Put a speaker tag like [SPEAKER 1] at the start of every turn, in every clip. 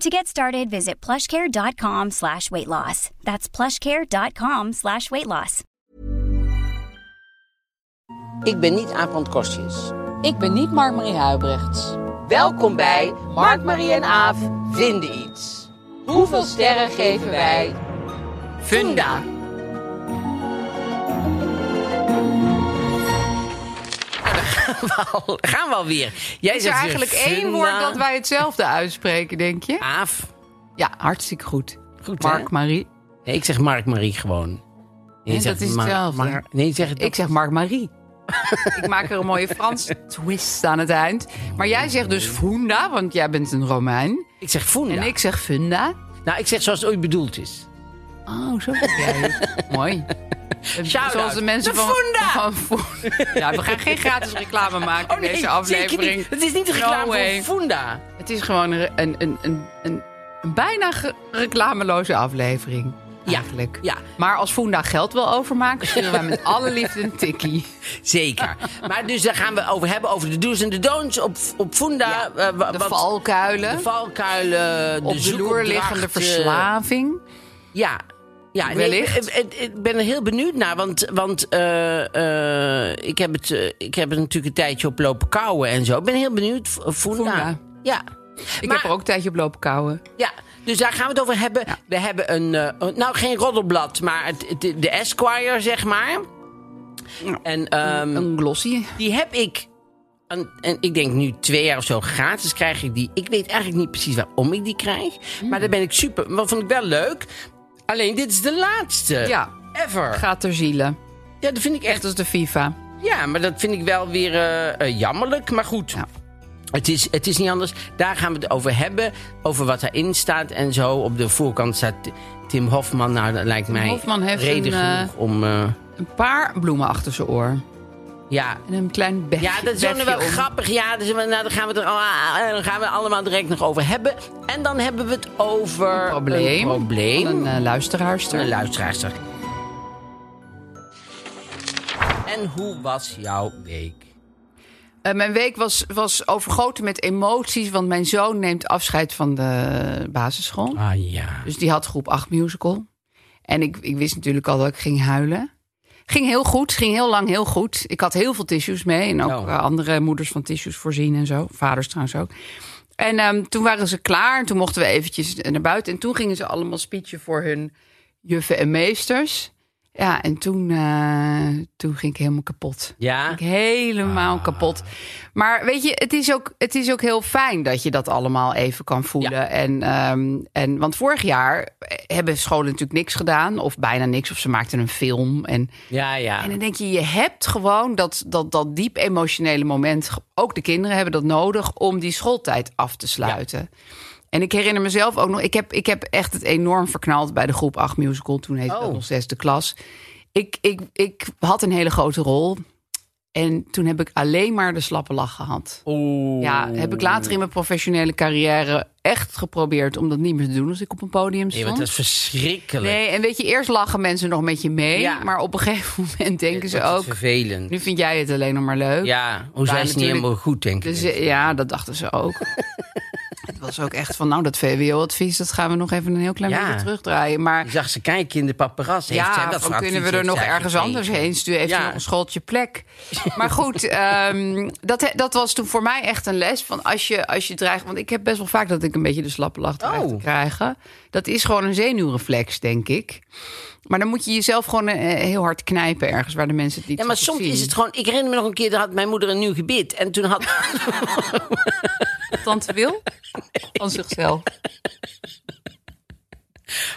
[SPEAKER 1] To get started, visit plushcare.com slash weight loss. That's plushcare.com slash weight loss.
[SPEAKER 2] Ik ben niet Aaf van Kostjes.
[SPEAKER 3] Ik ben niet Mark-Marie Huibrechts.
[SPEAKER 2] Welkom bij Mark, Marie en Aaf vinden iets. Hoeveel sterren geven wij? Funda. Daar gaan we alweer. Jij
[SPEAKER 4] Is
[SPEAKER 2] zegt
[SPEAKER 4] er
[SPEAKER 2] weer
[SPEAKER 4] eigenlijk één
[SPEAKER 2] funda.
[SPEAKER 4] woord dat wij hetzelfde uitspreken, denk je?
[SPEAKER 2] Aaf.
[SPEAKER 4] Ja, hartstikke goed.
[SPEAKER 2] Ah. Goed, hè?
[SPEAKER 4] Mark, Marie.
[SPEAKER 2] Nee, ik zeg Mark Marie gewoon. Nee, je
[SPEAKER 4] dat
[SPEAKER 2] zegt
[SPEAKER 4] is hetzelfde.
[SPEAKER 2] nee, je zegt
[SPEAKER 4] Ik zeg Mark, Marie. ik maak er een mooie Frans twist aan het eind. Maar jij zegt dus Funda, want jij bent een Romein.
[SPEAKER 2] ik zeg funda.
[SPEAKER 4] En ik zeg Funda.
[SPEAKER 2] Nou, ik zeg zoals het ooit bedoeld is.
[SPEAKER 4] Oh, zo. Mooi.
[SPEAKER 2] Shout-out.
[SPEAKER 4] Zoals de mensen
[SPEAKER 2] De
[SPEAKER 4] van,
[SPEAKER 2] Funda! Oh,
[SPEAKER 4] van Funda. Ja, we gaan geen gratis reclame maken in deze
[SPEAKER 2] Zeker
[SPEAKER 4] aflevering.
[SPEAKER 2] niet. Het is niet een
[SPEAKER 4] No
[SPEAKER 2] reclame
[SPEAKER 4] way.
[SPEAKER 2] voor funda.
[SPEAKER 4] Het is gewoon een, een, een, een, een, een bijna ge- reclameloze aflevering.
[SPEAKER 2] Ja,
[SPEAKER 4] Eigenlijk.
[SPEAKER 2] ja.
[SPEAKER 4] Maar als Funda geld wil overmaken, sturen wij met alle liefde een tikkie.
[SPEAKER 2] Zeker. maar dus daar gaan we over hebben over de do's en de don'ts op, op Funda.
[SPEAKER 4] Ja,
[SPEAKER 2] eh, wa-
[SPEAKER 4] De
[SPEAKER 2] wat-
[SPEAKER 4] valkuilen.
[SPEAKER 2] De valkuilen.
[SPEAKER 4] op de loer
[SPEAKER 2] zoekopdrachten.
[SPEAKER 4] liggende verslaving.
[SPEAKER 2] Ja. Ja, nee,
[SPEAKER 4] Wellicht.
[SPEAKER 2] ik- ik, ik- ik ben er heel benieuwd naar, want, want eh, eh, ik, heb het, eh, ik heb het natuurlijk een tijdje op lopen kouwen en zo. Ik ben heel benieuwd, v- Funda.
[SPEAKER 4] Funda.
[SPEAKER 2] Ja.
[SPEAKER 4] Ik
[SPEAKER 2] Maar-
[SPEAKER 4] heb er ook een tijdje op lopen kouwen.
[SPEAKER 2] Ja, dus daar gaan we het over hebben. We hebben een, eh, een- nou geen roddelblad, maar het, het- de Esquire, zeg maar. En ehm,
[SPEAKER 4] Een glossy.
[SPEAKER 2] die heb ik, en, en ik denk nu twee jaar of zo gratis krijg ik die. Ik weet eigenlijk niet precies waarom ik die krijg,
[SPEAKER 4] Hmm.
[SPEAKER 2] maar daar ben ik super. Wat vond ik wel leuk. Alleen dit is de laatste.
[SPEAKER 4] Ja.
[SPEAKER 2] Ever.
[SPEAKER 4] Gaat ter ziele.
[SPEAKER 2] ja, dat vind ik echt.
[SPEAKER 4] Echt als de FIFA.
[SPEAKER 2] Ja, maar dat vind ik wel weer eh, eh, jammerlijk. Maar goed,
[SPEAKER 4] Ja.
[SPEAKER 2] het, is, het is niet anders. Daar gaan we het over hebben. Over wat daarin staat en zo. Op de voorkant staat T- Tim Hofman. Nou, dat lijkt mij
[SPEAKER 4] Hofman heeft
[SPEAKER 2] reden
[SPEAKER 4] een, eh,
[SPEAKER 2] genoeg om... eh,
[SPEAKER 4] Een paar bloemen achter zijn oor.
[SPEAKER 2] ja.
[SPEAKER 4] En een klein bekje.
[SPEAKER 2] ja, dat is ook nog
[SPEAKER 4] bekje
[SPEAKER 2] wel
[SPEAKER 4] om.
[SPEAKER 2] grappig. Ja, dus, we- nou, daar gaan we het er ah, daar gaan we allemaal direct nog over hebben. En dan hebben we het over...
[SPEAKER 4] Een probleem.
[SPEAKER 2] Een probleem.
[SPEAKER 4] Van Een eh, luisteraarster.
[SPEAKER 2] Een luisteraarster. En hoe was jouw week?
[SPEAKER 4] Eh, mijn week was, was overgoten met emoties, want mijn zoon neemt afscheid van de basisschool.
[SPEAKER 2] Ah ja.
[SPEAKER 4] Dus die had groep 8 musical. En ik, ik wist natuurlijk al dat ik ging huilen. Ging heel goed, ging heel lang heel goed. Ik had heel veel tissues mee en ook
[SPEAKER 2] Oh.
[SPEAKER 4] eh, andere moeders van tissues voorzien en zo. Vaders trouwens ook. En ehm, toen waren ze klaar en toen mochten we eventjes naar buiten. En toen gingen ze allemaal speechen voor hun juffen en meesters. Ja, en toen, eh, toen ging ik helemaal kapot.
[SPEAKER 2] Ja? Ah.
[SPEAKER 4] Ik helemaal kapot. Maar weet je, het is, ook, het is ook heel fijn dat je dat allemaal even kan voelen.
[SPEAKER 2] Ja.
[SPEAKER 4] En, ehm, en, want vorig jaar eh, hebben scholen natuurlijk niks gedaan, of bijna niks, of ze maakten een film. En,
[SPEAKER 2] Ja, ja.
[SPEAKER 4] en dan denk je, je hebt gewoon dat, dat, dat diep emotionele moment. Ook de kinderen hebben dat nodig om die schooltijd af te sluiten. En ik herinner mezelf ook nog, ik heb, ik heb echt het enorm verknald bij de groep 8 musical. Toen heette dat
[SPEAKER 2] Oh.
[SPEAKER 4] nog zesde klas. Ik, ik, ik had een hele grote rol. En toen heb ik alleen maar de slappe lach gehad.
[SPEAKER 2] Oeh.
[SPEAKER 4] Ja, heb ik later in mijn professionele carrière echt geprobeerd om dat niet meer te doen als ik op een podium
[SPEAKER 2] Nee,
[SPEAKER 4] stond.
[SPEAKER 2] want dat is verschrikkelijk.
[SPEAKER 4] Nee, en weet je, eerst lachen mensen nog met je mee.
[SPEAKER 2] Ja.
[SPEAKER 4] Maar op een gegeven moment denken ze
[SPEAKER 2] Dat is
[SPEAKER 4] ook...
[SPEAKER 2] vervelend.
[SPEAKER 4] Nu vind jij het alleen nog maar leuk. Dus,
[SPEAKER 2] Ja, hoe
[SPEAKER 4] Waar
[SPEAKER 2] zijn ze niet
[SPEAKER 4] natuurlijk-
[SPEAKER 2] helemaal goed, denk ik.
[SPEAKER 4] Dus, eh, ja, dat dachten ze ook. Het was ook echt van, nou, dat VWO-advies, dat gaan we nog even een heel klein
[SPEAKER 2] Ja.
[SPEAKER 4] beetje terugdraaien. Maar
[SPEAKER 2] Ik zag ze kijken in de paparazzi. Heeft zij
[SPEAKER 4] eh, ja,
[SPEAKER 2] dat
[SPEAKER 4] van
[SPEAKER 2] voor
[SPEAKER 4] kunnen we
[SPEAKER 2] advies?
[SPEAKER 4] er nog
[SPEAKER 2] Heeft zij
[SPEAKER 4] ergens
[SPEAKER 2] gekregen?
[SPEAKER 4] anders heen sturen? Heeft
[SPEAKER 2] Ja.
[SPEAKER 4] u nog een schooltje plek? Maar goed, ehm, dat, dat was toen voor mij echt een les. Van als je, als je dreigt, want ik heb best wel vaak dat ik een beetje de slappe lach dreig te
[SPEAKER 2] Oh.
[SPEAKER 4] krijgen. Dat is gewoon een zenuwreflex, denk ik. Maar dan moet je jezelf gewoon eh, heel hard knijpen ergens waar de mensen het niet
[SPEAKER 2] Ja, maar
[SPEAKER 4] zo
[SPEAKER 2] soms
[SPEAKER 4] zien.
[SPEAKER 2] is het gewoon... Ik herinner me nog een keer, daar had mijn moeder een nieuw gebit. En toen had...
[SPEAKER 4] Tante Wil? Van zichzelf.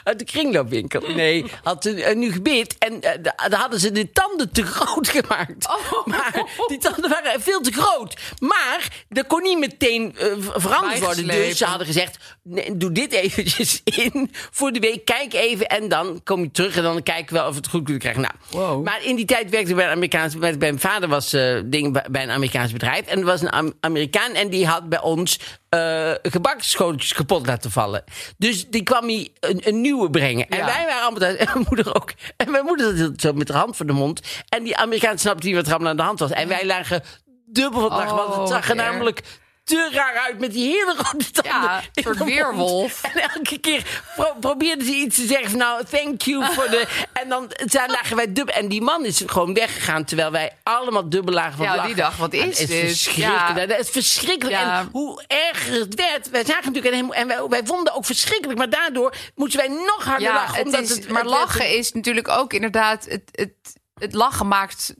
[SPEAKER 2] Uit de kringloopwinkel. Nee, had een, een nieuw gebit. En eh, da- daar hadden ze de tanden te groot gemaakt.
[SPEAKER 4] Oh.
[SPEAKER 2] Maar die tanden waren veel te groot. Maar dat kon niet meteen eh, ver- veranderd worden. Dus ze
[SPEAKER 4] Bijgeslepen.
[SPEAKER 2] hadden gezegd, nee, doe dit eventjes in voor de week. Kijk even en dan kom je terug en dan kijken we wel of we het goed kunnen krijgen. Nou,
[SPEAKER 4] Wow.
[SPEAKER 2] Maar in die tijd werkte ik bij, een Amerikaans, bij bij mijn vader was eh, ding bij- bij een Amerikaans bedrijf. En er was een Am- Amerikaan en die had bij ons eh gebakschotels kapot laten vallen. Dus die kwam hier een, een nieuwe brengen. En
[SPEAKER 4] Ja.
[SPEAKER 2] wij waren allemaal thuis. En mijn moeder ook. En mijn moeder zat heel- zo met haar hand voor de mond. En die Amerikaan snapte niet wat er allemaal aan de hand was. En wij lagen dubbel van dag. want het
[SPEAKER 4] Oh,
[SPEAKER 2] zag er
[SPEAKER 4] wat erg.
[SPEAKER 2] namelijk te raar uit met die hele rode tanden.
[SPEAKER 4] Ja, een
[SPEAKER 2] in
[SPEAKER 4] soort
[SPEAKER 2] de mond.
[SPEAKER 4] weerwolf.
[SPEAKER 2] En elke keer pro- probeerde ze iets te zeggen van nou, thank you voor de... En dan zijn- lagen wij dubbel. En die man is gewoon weggegaan, terwijl wij allemaal dubbel lagen van
[SPEAKER 4] Ja, die
[SPEAKER 2] lachen.
[SPEAKER 4] dacht, wat
[SPEAKER 2] En
[SPEAKER 4] is
[SPEAKER 2] het
[SPEAKER 4] dit?
[SPEAKER 2] Verschrikkelijk.
[SPEAKER 4] Ja.
[SPEAKER 2] Dat is verschrikkelijk.
[SPEAKER 4] Ja.
[SPEAKER 2] En hoe erger het werd, wij zagen natuurlijk... En, en wij, wij vonden ook verschrikkelijk, maar daardoor moesten wij nog harder
[SPEAKER 4] Ja,
[SPEAKER 2] lachen.
[SPEAKER 4] het
[SPEAKER 2] Omdat
[SPEAKER 4] is-
[SPEAKER 2] het,
[SPEAKER 4] maar
[SPEAKER 2] het werd-
[SPEAKER 4] lachen is natuurlijk ook inderdaad... Het, het, het lachen maakt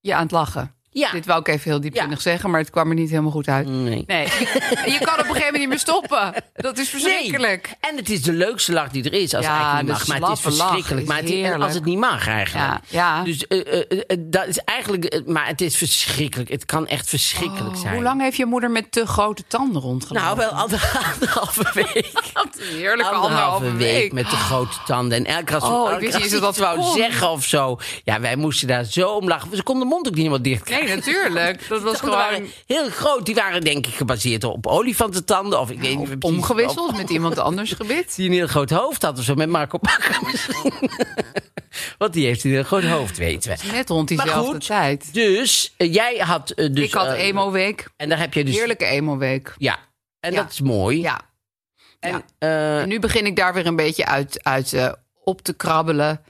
[SPEAKER 4] je aan het lachen.
[SPEAKER 2] Ja.
[SPEAKER 4] Dit wou ik even heel diepzinnig zeggen, maar het kwam er niet helemaal goed uit.
[SPEAKER 2] Nee.
[SPEAKER 4] Nee. je kan op een gegeven moment niet meer stoppen. Dat is verschrikkelijk.
[SPEAKER 2] Nee. En het is de leukste lach die er is als
[SPEAKER 4] Ja,
[SPEAKER 2] het eigenlijk niet
[SPEAKER 4] de
[SPEAKER 2] mag. Maar het is
[SPEAKER 4] slappe lach
[SPEAKER 2] verschrikkelijk.
[SPEAKER 4] is
[SPEAKER 2] maar het, en
[SPEAKER 4] heerlijk.
[SPEAKER 2] als het niet mag eigenlijk.
[SPEAKER 4] Ja, ja.
[SPEAKER 2] Dus eh, eh, eh, dat is eigenlijk... eh, maar het is verschrikkelijk. Het kan echt verschrikkelijk zijn.
[SPEAKER 4] Hoe lang heeft je moeder met te grote tanden rondgelopen?
[SPEAKER 2] Nou, wel ander- anderhalve week.
[SPEAKER 4] Wat een heerlijke anderhalve week.
[SPEAKER 2] met de grote tanden. En elke als
[SPEAKER 4] Oh, ik
[SPEAKER 2] elke
[SPEAKER 4] wist
[SPEAKER 2] als
[SPEAKER 4] niet dat
[SPEAKER 2] ze iets
[SPEAKER 4] dat
[SPEAKER 2] wou
[SPEAKER 4] kon.
[SPEAKER 2] zeggen of zo. Ja, wij moesten daar zo om lachen. Ze konden de mond ook niet helemaal dicht
[SPEAKER 4] Nee, natuurlijk. Dat was
[SPEAKER 2] Die tanden
[SPEAKER 4] gewoon
[SPEAKER 2] waren heel groot. Die waren denk ik gebaseerd op olifantentanden. Of ik weet niet precies.
[SPEAKER 4] omgewisseld met iemand anders gebit.
[SPEAKER 2] die een heel groot hoofd had of zo. Met Marco Bakker misschien. Want die heeft een heel groot hoofd, weten we.
[SPEAKER 4] Net rond diezelfde tijd.
[SPEAKER 2] dus eh, jij had eh, dus...
[SPEAKER 4] Ik had
[SPEAKER 2] eh,
[SPEAKER 4] emo-week.
[SPEAKER 2] En daar heb je dus...
[SPEAKER 4] Heerlijke emo-week.
[SPEAKER 2] Ja, en
[SPEAKER 4] Ja.
[SPEAKER 2] dat is mooi.
[SPEAKER 4] Ja.
[SPEAKER 2] En,
[SPEAKER 4] Ja.
[SPEAKER 2] eh,
[SPEAKER 4] En nu begin ik daar weer een beetje uit, uit eh, op te krabbelen.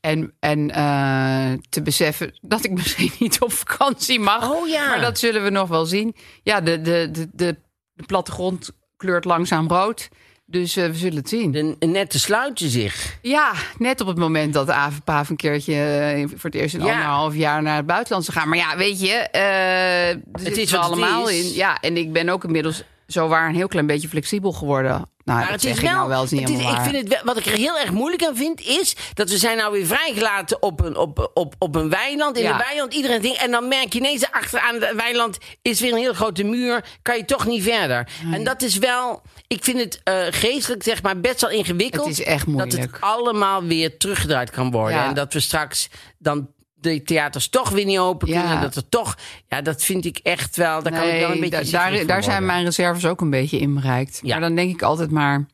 [SPEAKER 4] En, en eh, te beseffen dat ik misschien niet op vakantie mag.
[SPEAKER 2] Oh ja.
[SPEAKER 4] Maar dat zullen we nog wel zien. Ja, de, de, de, de, de plattegrond kleurt langzaam rood. Dus eh, we zullen het zien.
[SPEAKER 2] de netten sluiten zich.
[SPEAKER 4] Ja, net op het moment dat de Avenpaaf een keertje eh, voor het eerst in
[SPEAKER 2] Ja.
[SPEAKER 4] anderhalf jaar naar het buitenland zou gaan. Maar ja, weet je, het
[SPEAKER 2] is
[SPEAKER 4] zitten we
[SPEAKER 2] wat het
[SPEAKER 4] allemaal
[SPEAKER 2] is.
[SPEAKER 4] in. Ja, en ik ben ook inmiddels zowaar een heel klein beetje flexibel geworden. Nou, dat
[SPEAKER 2] Maar het
[SPEAKER 4] zeg
[SPEAKER 2] is
[SPEAKER 4] ik
[SPEAKER 2] wel,
[SPEAKER 4] nou wel eens niet
[SPEAKER 2] het is-
[SPEAKER 4] helemaal
[SPEAKER 2] ik
[SPEAKER 4] waar.
[SPEAKER 2] vind het, wel- wat ik er heel erg moeilijk aan vind, is dat we zijn nou weer vrijgelaten op een, op, op, op een weiland. In
[SPEAKER 4] Ja.
[SPEAKER 2] een weiland, iedereen ding. En dan merk je ineens, achteraan het weiland is weer een heel grote muur. Kan je toch niet verder.
[SPEAKER 4] Hmm.
[SPEAKER 2] En dat is wel, ik vind het eh, geestelijk zeg maar best wel ingewikkeld.
[SPEAKER 4] Het is echt
[SPEAKER 2] Dat
[SPEAKER 4] moeilijk.
[SPEAKER 2] het allemaal weer teruggedraaid kan worden.
[SPEAKER 4] Ja.
[SPEAKER 2] En dat we straks dan de theaters toch weer niet open
[SPEAKER 4] Ja.
[SPEAKER 2] kunnen. Dat er toch, ja, dat vind ik echt wel, daar kan ik wel een
[SPEAKER 4] Nee,
[SPEAKER 2] beetje
[SPEAKER 4] da-
[SPEAKER 2] ziek
[SPEAKER 4] daar,
[SPEAKER 2] van
[SPEAKER 4] daar zijn
[SPEAKER 2] worden.
[SPEAKER 4] mijn reserves ook een beetje in bereikt.
[SPEAKER 2] Ja.
[SPEAKER 4] Maar dan denk ik altijd maar,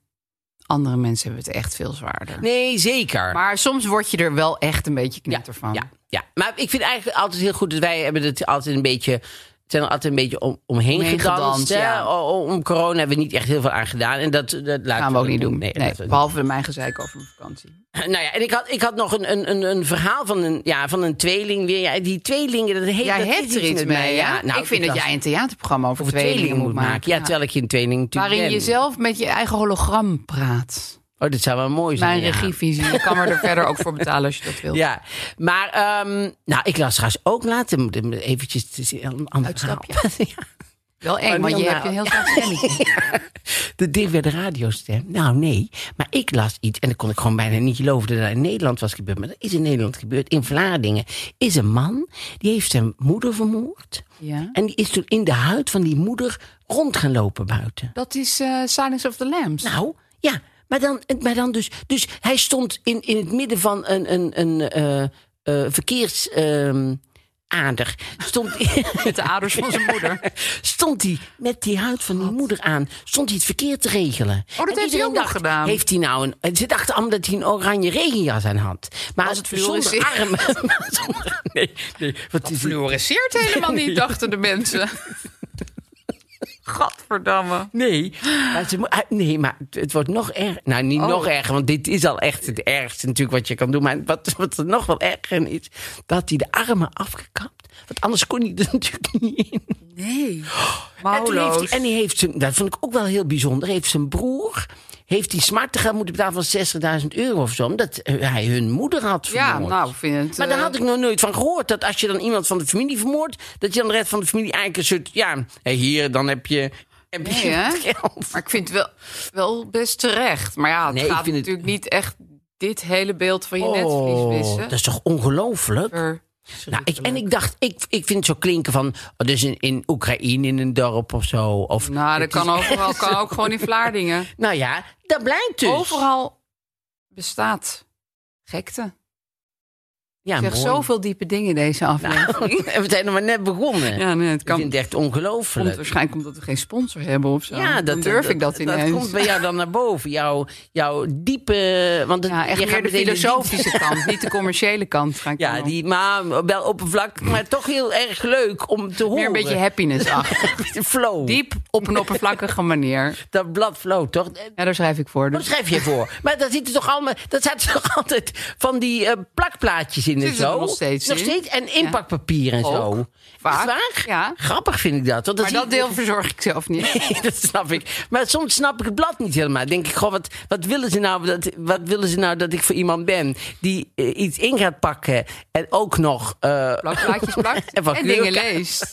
[SPEAKER 4] andere mensen hebben het echt veel zwaarder.
[SPEAKER 2] Nee, zeker.
[SPEAKER 4] Maar soms word je er wel echt een beetje knetter van.
[SPEAKER 2] Ja, ja, maar ik vind eigenlijk altijd heel goed dat wij hebben het altijd een beetje zijn er altijd een beetje om, omheen,
[SPEAKER 4] Omheen
[SPEAKER 2] gedanst.
[SPEAKER 4] gedanst,
[SPEAKER 2] hè.
[SPEAKER 4] ja.
[SPEAKER 2] O- o- Om corona hebben we niet echt heel veel aan gedaan. En dat, dat laten
[SPEAKER 4] gaan we ook niet doen.
[SPEAKER 2] Nee,
[SPEAKER 4] Nee,
[SPEAKER 2] laten we-
[SPEAKER 4] behalve mijn gezeik over mijn vakantie.
[SPEAKER 2] Nou ja, en ik had, ik had nog een, een, een, een verhaal van een, ja, van een tweeling weer. Ja, die tweelingen, dat heeft
[SPEAKER 4] Jij
[SPEAKER 2] dat
[SPEAKER 4] hebt
[SPEAKER 2] is
[SPEAKER 4] er iets
[SPEAKER 2] met
[SPEAKER 4] mee,
[SPEAKER 2] mij.
[SPEAKER 4] ja?
[SPEAKER 2] Nou,
[SPEAKER 4] ik vind dat
[SPEAKER 2] dacht,
[SPEAKER 4] jij een theaterprogramma over,
[SPEAKER 2] over
[SPEAKER 4] tweelingen, moet maken.
[SPEAKER 2] Ja, terwijl ik geen tweeling natuurlijk
[SPEAKER 4] Waarin je
[SPEAKER 2] ben.
[SPEAKER 4] zelf met je eigen hologram praat.
[SPEAKER 2] Oh, dat zou wel mooi zijn.
[SPEAKER 4] Mijn
[SPEAKER 2] ja.
[SPEAKER 4] regievisie. Je kan me er verder ook voor betalen als je dat wilt.
[SPEAKER 2] Ja, maar ehm, nou, ik las trouwens ook later moet ik eventjes het is een ander verhaal. Ja.
[SPEAKER 4] Wel
[SPEAKER 2] Maar
[SPEAKER 4] eng, want
[SPEAKER 2] heel
[SPEAKER 4] je
[SPEAKER 2] na-
[SPEAKER 4] hebt een heel slecht stemmetje.
[SPEAKER 2] De dicht bij de radiostem. Nou, nee. Maar ik las iets en dat kon ik gewoon bijna niet geloven dat dat in Nederland was gebeurd. Maar dat is in Nederland gebeurd. In Vlaardingen is een man die heeft zijn moeder vermoord.
[SPEAKER 4] Ja.
[SPEAKER 2] En die is toen in de huid van die moeder rond gaan lopen buiten.
[SPEAKER 4] Dat is eh, Silence of the Lambs.
[SPEAKER 2] Nou, ja. Maar dan, maar dan dus. Dus hij stond in, in het midden van een, een, een eh, eh, verkeers. ehm, ader. Stond,
[SPEAKER 4] Met de aders van zijn moeder.
[SPEAKER 2] stond hij met die huid van die moeder aan, stond hij het verkeer te regelen.
[SPEAKER 4] Oh, dat heeft hij
[SPEAKER 2] iedereen
[SPEAKER 4] ook nog
[SPEAKER 2] dacht,
[SPEAKER 4] gedaan.
[SPEAKER 2] Heeft hij nou een, en ze dachten allemaal dat hij een oranje regenjas aan had. Maar
[SPEAKER 4] Was het
[SPEAKER 2] zonder
[SPEAKER 4] fluoriserend?
[SPEAKER 2] armen. maar zonder- nee, nee. Wat is het?
[SPEAKER 4] Fluoresceert helemaal niet, dachten de mensen. Gadver. Godverdamme.
[SPEAKER 2] Nee, maar, ze, mo- ah, nee, maar het- het wordt nog erger. Nou, niet
[SPEAKER 4] Oh.
[SPEAKER 2] nog erger, want dit is al echt het ergste natuurlijk wat je kan doen. Maar wat, wat er nog wel erger is, dat hij de armen afgekapt. Want anders kon hij er natuurlijk niet in.
[SPEAKER 4] Nee.
[SPEAKER 2] En, toen heeft hij,
[SPEAKER 4] Mouwloos.
[SPEAKER 2] en die heeft zijn, dat vond ik ook wel heel bijzonder, heeft zijn broer... Heeft die smarten gaan moeten betalen van 60.000 euro of zo? Omdat hij hun moeder had
[SPEAKER 4] Ja,
[SPEAKER 2] vermoord.
[SPEAKER 4] nou, ik vind het...
[SPEAKER 2] Maar daar
[SPEAKER 4] eh,
[SPEAKER 2] had ik nog nooit van gehoord. Dat als je dan iemand van de familie vermoordt, dat je dan de rest van de familie eigenlijk een soort. Ja, hé, hier, dan heb je. Heb je
[SPEAKER 4] Nee, hè?
[SPEAKER 2] het geld.
[SPEAKER 4] Maar ik vind het wel, wel best terecht. Maar ja, het
[SPEAKER 2] Nee, ik
[SPEAKER 4] gaat
[SPEAKER 2] vind het-
[SPEAKER 4] natuurlijk niet echt dit hele beeld van je
[SPEAKER 2] Oh,
[SPEAKER 4] netvlies
[SPEAKER 2] dat
[SPEAKER 4] wissen.
[SPEAKER 2] is toch ongelooflijk?
[SPEAKER 4] Er-
[SPEAKER 2] Nou, ik, en ik dacht, ik, ik vind het zo klinken van. oh, dus in, in Oekraïne in een dorp of zo. Of,
[SPEAKER 4] Nou, dat
[SPEAKER 2] het
[SPEAKER 4] kan,
[SPEAKER 2] is-
[SPEAKER 4] overal, kan ook gewoon in Vlaardingen.
[SPEAKER 2] Nou ja, dat blijkt dus.
[SPEAKER 4] Overal bestaat gekte.
[SPEAKER 2] Ja,
[SPEAKER 4] Ik zeg
[SPEAKER 2] mooi.
[SPEAKER 4] zoveel diepe dingen in deze aflevering.
[SPEAKER 2] En we zijn nog maar net begonnen.
[SPEAKER 4] Ja, nee, het
[SPEAKER 2] ik
[SPEAKER 4] kan.
[SPEAKER 2] vind het echt
[SPEAKER 4] komt
[SPEAKER 2] ongelooflijk.
[SPEAKER 4] waarschijnlijk omdat we geen sponsor hebben of zo. Dan durf ik dat
[SPEAKER 2] Dat
[SPEAKER 4] ineens.
[SPEAKER 2] komt bij jou dan naar boven. Jouw, jouw diepe... Want het-
[SPEAKER 4] ja, echt
[SPEAKER 2] je
[SPEAKER 4] meer
[SPEAKER 2] gaat
[SPEAKER 4] de
[SPEAKER 2] meteen
[SPEAKER 4] filosofische kant, niet de commerciële kant. Ga ik
[SPEAKER 2] Ja,
[SPEAKER 4] dan
[SPEAKER 2] die, maar wel oppervlak, maar toch heel erg leuk om te
[SPEAKER 4] op.
[SPEAKER 2] horen.
[SPEAKER 4] meer een beetje happiness achter.
[SPEAKER 2] flow.
[SPEAKER 4] Diep op een oppervlakkige manier.
[SPEAKER 2] Dat blad flow, toch? Eh,
[SPEAKER 4] Ja, daar schrijf ik voor.
[SPEAKER 2] Wat
[SPEAKER 4] Dus.
[SPEAKER 2] schrijf je voor? Maar daar zitten toch allemaal, dat zaten toch altijd van die eh, plakplaatjes in en
[SPEAKER 4] Zitten er
[SPEAKER 2] zo.
[SPEAKER 4] nog steeds in?
[SPEAKER 2] en inpakpapier en
[SPEAKER 4] Ook.
[SPEAKER 2] zo.
[SPEAKER 4] Vaak.
[SPEAKER 2] Is het waar?
[SPEAKER 4] Ja.
[SPEAKER 2] Grappig vind ik dat. Want
[SPEAKER 4] Maar
[SPEAKER 2] zie
[SPEAKER 4] dat
[SPEAKER 2] je-
[SPEAKER 4] deel verzorg ik zelf niet.
[SPEAKER 2] dat snap ik. Maar soms snap ik het blad niet helemaal. Dan Denk ik, goh, wat, wat, willen ze nou, dat, wat willen ze nou dat ik voor iemand ben die eh, iets in gaat pakken en ook nog eh,
[SPEAKER 4] Plakplaatjes plakt
[SPEAKER 2] En
[SPEAKER 4] en,
[SPEAKER 2] van
[SPEAKER 4] dingen
[SPEAKER 2] kleurkaart.
[SPEAKER 4] leest.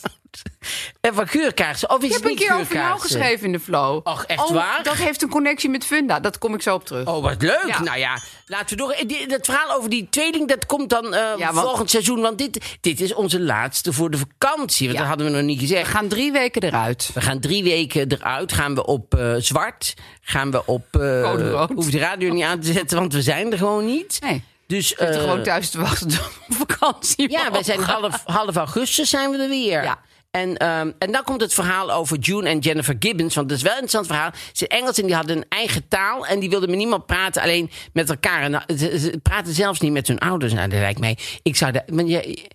[SPEAKER 2] En van geurkaarsen. Of is
[SPEAKER 4] Ik
[SPEAKER 2] het
[SPEAKER 4] heb een
[SPEAKER 2] niet
[SPEAKER 4] keer over jou
[SPEAKER 2] geurkaarsen?
[SPEAKER 4] geschreven in de flow.
[SPEAKER 2] Ach, echt
[SPEAKER 4] oh,
[SPEAKER 2] waar?
[SPEAKER 4] Dat heeft een connectie met Funda. Dat kom ik zo op terug.
[SPEAKER 2] Oh, wat leuk.
[SPEAKER 4] Ja.
[SPEAKER 2] Nou ja, laten we door. Eh, die- Dat verhaal over die tweeling, dat komt dan eh,
[SPEAKER 4] want-
[SPEAKER 2] volgend seizoen. Want dit, dit is onze laatste voor de vakantie. Want
[SPEAKER 4] Ja.
[SPEAKER 2] dat hadden we nog niet gezegd.
[SPEAKER 4] We gaan drie weken eruit.
[SPEAKER 2] We gaan drie weken eruit. Gaan we op eh, zwart. Gaan we op... eh,
[SPEAKER 4] Code rood.
[SPEAKER 2] hoef de radio niet aan te zetten, want we zijn er gewoon niet.
[SPEAKER 4] Nee.
[SPEAKER 2] Dus...
[SPEAKER 4] We zitten
[SPEAKER 2] eh,
[SPEAKER 4] gewoon thuis te wachten tot we op vakantie.
[SPEAKER 2] Ja, we
[SPEAKER 4] mogen.
[SPEAKER 2] zijn half, half augustus zijn we er weer.
[SPEAKER 4] Ja.
[SPEAKER 2] En, ehm, en dan komt het verhaal over June en Jennifer Gibbons. Want dat is wel een interessant verhaal. Ze zijn Engels en die hadden een eigen taal. En die wilden met niemand praten, alleen met elkaar. En nou, ze, ze praten zelfs niet met hun ouders. Nou, dat lijkt mij... Ik zou dat... maar je-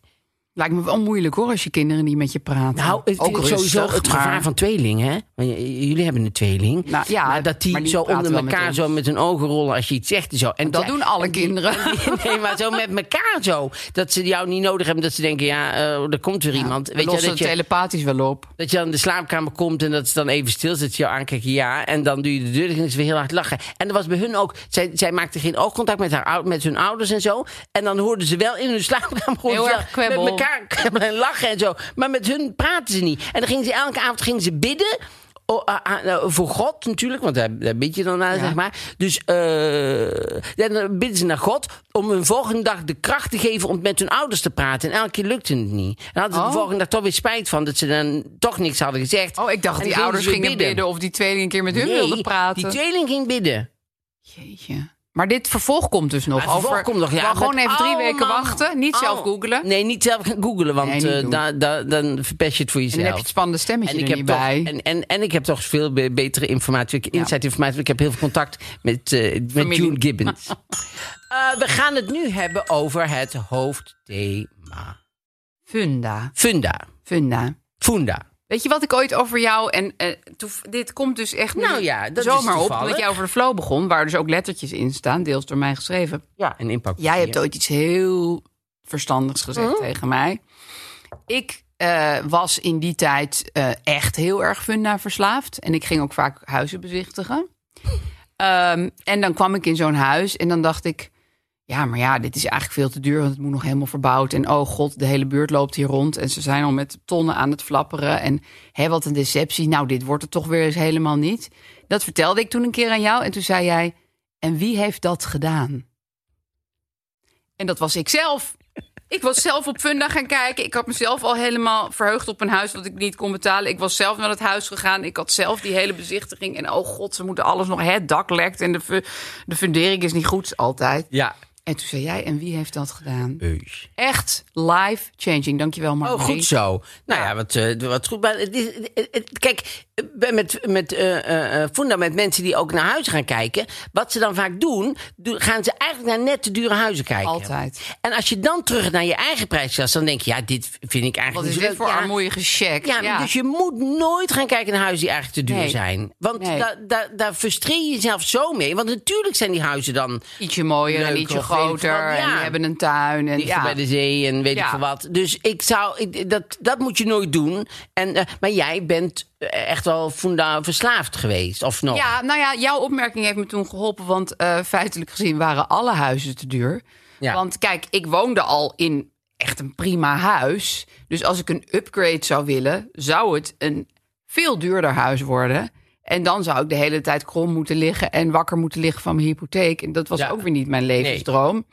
[SPEAKER 4] Lijkt me wel moeilijk hoor, als je kinderen niet met je praten.
[SPEAKER 2] nou, het,
[SPEAKER 4] Ook
[SPEAKER 2] is sowieso
[SPEAKER 4] rustig,
[SPEAKER 2] het
[SPEAKER 4] maar-
[SPEAKER 2] gevaar van tweeling, hè? Want j- jullie hebben een tweeling.
[SPEAKER 4] Nou, ja,
[SPEAKER 2] maar dat die,
[SPEAKER 4] maar die
[SPEAKER 2] zo
[SPEAKER 4] praten
[SPEAKER 2] onder
[SPEAKER 4] wel met
[SPEAKER 2] elkaar
[SPEAKER 4] ons.
[SPEAKER 2] zo met hun ogen rollen als je iets zegt en zo. En
[SPEAKER 4] Dat
[SPEAKER 2] zij-
[SPEAKER 4] doen alle kinderen.
[SPEAKER 2] Nee, maar zo met elkaar zo. Dat ze jou niet nodig hebben. Dat ze denken, ja, eh, er komt weer iemand.
[SPEAKER 4] We
[SPEAKER 2] Weet je,
[SPEAKER 4] lossen
[SPEAKER 2] dat
[SPEAKER 4] het
[SPEAKER 2] je,
[SPEAKER 4] telepathisch wel op.
[SPEAKER 2] dat je dan in de slaapkamer komt en dat ze dan even stil zit. Ze jou aankijken, ja. En dan doe je de deur dicht en ze weer heel hard lachen. En dat was bij hun ook. Zij, zij maakte geen oogcontact met, haar, ou- met hun ouders en zo. En dan hoorden ze wel in hun slaapkamer hoorden
[SPEAKER 4] Heel
[SPEAKER 2] ze
[SPEAKER 4] erg
[SPEAKER 2] wel
[SPEAKER 4] kwebbel.
[SPEAKER 2] met elkaar kwebbelen en lachen en zo. Maar met hun praten ze niet. En dan gingen ze elke avond gingen ze bidden. O- a- a- nou, voor God natuurlijk, want daar, daar bid je dan naar, zeg maar. Dus eh, dan bidden ze naar God om hun volgende dag de kracht te geven om met hun ouders te praten. En elke keer lukte het niet. En dan hadden ze de
[SPEAKER 4] Oh.
[SPEAKER 2] volgende dag toch weer spijt van dat ze dan toch niks hadden gezegd.
[SPEAKER 4] Oh, ik dacht
[SPEAKER 2] En
[SPEAKER 4] die
[SPEAKER 2] dan
[SPEAKER 4] ouders
[SPEAKER 2] ze weer
[SPEAKER 4] gingen bidden. of die tweeling een keer met hun
[SPEAKER 2] Nee,
[SPEAKER 4] wilden praten.
[SPEAKER 2] Die tweeling ging bidden.
[SPEAKER 4] Jeetje. Maar dit vervolg komt dus nog.
[SPEAKER 2] Maar het vervolg
[SPEAKER 4] over,
[SPEAKER 2] komt nog, ja,
[SPEAKER 4] we gaan
[SPEAKER 2] met
[SPEAKER 4] gewoon even drie
[SPEAKER 2] allemaal-
[SPEAKER 4] weken wachten. Niet zelf
[SPEAKER 2] Oh.
[SPEAKER 4] googlen.
[SPEAKER 2] Nee, niet zelf gaan googelen, want
[SPEAKER 4] Nee, niet
[SPEAKER 2] eh,
[SPEAKER 4] doen.
[SPEAKER 2] da- da- dan verpest je het voor
[SPEAKER 4] En
[SPEAKER 2] jezelf.
[SPEAKER 4] dan heb je het spannende stemmetje er niet
[SPEAKER 2] toch,
[SPEAKER 4] bij.
[SPEAKER 2] En, en, en ik heb toch veel be- betere informatie, ik- inside informatie. want Ik heb heel veel contact met, eh, met
[SPEAKER 4] Familie.
[SPEAKER 2] June Gibbons. Eh, we gaan het nu hebben over het hoofdthema.
[SPEAKER 4] Funda.
[SPEAKER 2] Funda.
[SPEAKER 4] Funda.
[SPEAKER 2] Funda.
[SPEAKER 4] Weet je wat ik ooit over jou en eh, toef- dit komt dus echt nu
[SPEAKER 2] Nou ja, dat is
[SPEAKER 4] zomaar op
[SPEAKER 2] toevallig.
[SPEAKER 4] omdat jij over de flow begon, waar dus ook lettertjes in staan, deels door mij geschreven.
[SPEAKER 2] Ja, een impact.
[SPEAKER 4] Jij hebt ooit iets heel verstandigs gezegd tegen mij. Ik eh, was in die tijd eh, echt heel erg funda verslaafd. En ik ging ook vaak huizen bezichtigen. Ehm, en dan kwam ik in zo'n huis en dan dacht ik... Ja, maar ja, dit is eigenlijk veel te duur, want het moet nog helemaal verbouwd. En oh god, de hele buurt loopt hier rond en ze zijn al met tonnen aan het flapperen. En hè, wat een deceptie. Nou, dit wordt het toch weer eens helemaal niet. Dat vertelde ik toen een keer aan jou en toen zei jij... En wie heeft dat gedaan? En dat was ik zelf. Ik was zelf op Funda gaan kijken. Ik had mezelf al helemaal verheugd op een huis dat ik niet kon betalen. Ik was zelf naar het huis gegaan. Ik had zelf die hele bezichtiging. En oh god, ze moeten alles nog. hè, Het dak lekt en de, fu- de fundering is niet goed altijd.
[SPEAKER 2] Ja.
[SPEAKER 4] En toen zei jij, en wie heeft dat gedaan?
[SPEAKER 2] Eus.
[SPEAKER 4] Echt life changing. Dankjewel, Margot.
[SPEAKER 2] Eh. Oh, goed zo. Nou ja, wat, eh, wat goed. Maar het is, het- het- kijk, bij- met, met eh, eh, eh, Funda, met mensen die ook naar huizen gaan kijken, wat ze dan vaak doen, do- gaan ze eigenlijk naar net te dure huizen kijken.
[SPEAKER 4] Altijd.
[SPEAKER 2] En als je dan terug naar je eigen prijsklas, dan denk je, ja, dit vind ik eigenlijk
[SPEAKER 4] Wat is
[SPEAKER 2] niet zo
[SPEAKER 4] dit
[SPEAKER 2] Dus leuk.
[SPEAKER 4] voor
[SPEAKER 2] Ja,
[SPEAKER 4] armoeige check?
[SPEAKER 2] Ja, dus je moet nooit gaan kijken naar huizen die eigenlijk te duur
[SPEAKER 4] Nee.
[SPEAKER 2] zijn. Want
[SPEAKER 4] Nee.
[SPEAKER 2] da- da- daar frustreer je jezelf zo mee. Want natuurlijk zijn die huizen dan
[SPEAKER 4] ietsje mooier en
[SPEAKER 2] Leuker,
[SPEAKER 4] ietsje
[SPEAKER 2] of weet ik
[SPEAKER 4] groter.
[SPEAKER 2] wat,
[SPEAKER 4] En
[SPEAKER 2] ja.
[SPEAKER 4] die hebben een tuin. En,
[SPEAKER 2] dichter
[SPEAKER 4] ja.
[SPEAKER 2] bij de zee en weet
[SPEAKER 4] Ja.
[SPEAKER 2] ik veel wat. Dus ik zou, ik- dat, dat moet je nooit doen. En, eh, maar jij bent eh, echt wel funda verslaafd geweest, of nog?
[SPEAKER 4] Ja, nou ja, jouw opmerking heeft me toen geholpen. Want eh, feitelijk gezien waren alle huizen te duur.
[SPEAKER 2] Ja.
[SPEAKER 4] Want kijk, ik woonde al in echt een prima huis. Dus als ik een upgrade zou willen, zou het een veel duurder huis worden. En dan zou ik de hele tijd krom moeten liggen en wakker moeten liggen van mijn hypotheek. En dat was
[SPEAKER 2] Ja.
[SPEAKER 4] ook weer niet mijn levensdroom.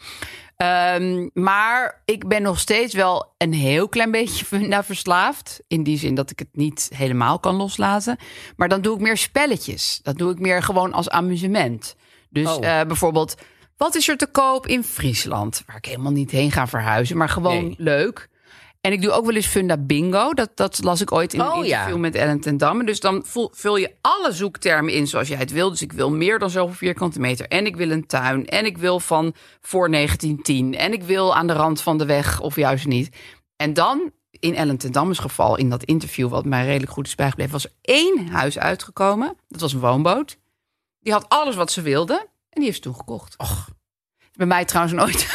[SPEAKER 4] Ehm, maar ik ben nog steeds wel een heel klein beetje funda verslaafd. In die zin dat ik het niet helemaal kan loslaten. Maar dan doe ik meer spelletjes. Dat doe ik meer gewoon als amusement. Dus
[SPEAKER 2] Oh.
[SPEAKER 4] eh, bijvoorbeeld, wat is er te koop in Friesland? Waar ik helemaal niet heen ga verhuizen, maar gewoon
[SPEAKER 2] Nee.
[SPEAKER 4] leuk. En ik doe ook wel eens Funda Bingo. Dat, dat las ik ooit in een
[SPEAKER 2] Oh, ja.
[SPEAKER 4] interview met Ellen ten Damme. Dus dan vul, vul je alle zoektermen in zoals jij het wil. Dus ik wil meer dan zoveel vierkante meter. En ik wil een tuin. En ik wil van voor 1910. En ik wil aan de rand van de weg of juist niet. En dan, in Ellen ten Damme's geval, in dat interview... wat mij redelijk goed is bijgebleven... was er één huis uitgekomen. Dat was een woonboot. Die had alles wat ze wilde. En die heeft ze toen gekocht. Bij mij trouwens nooit...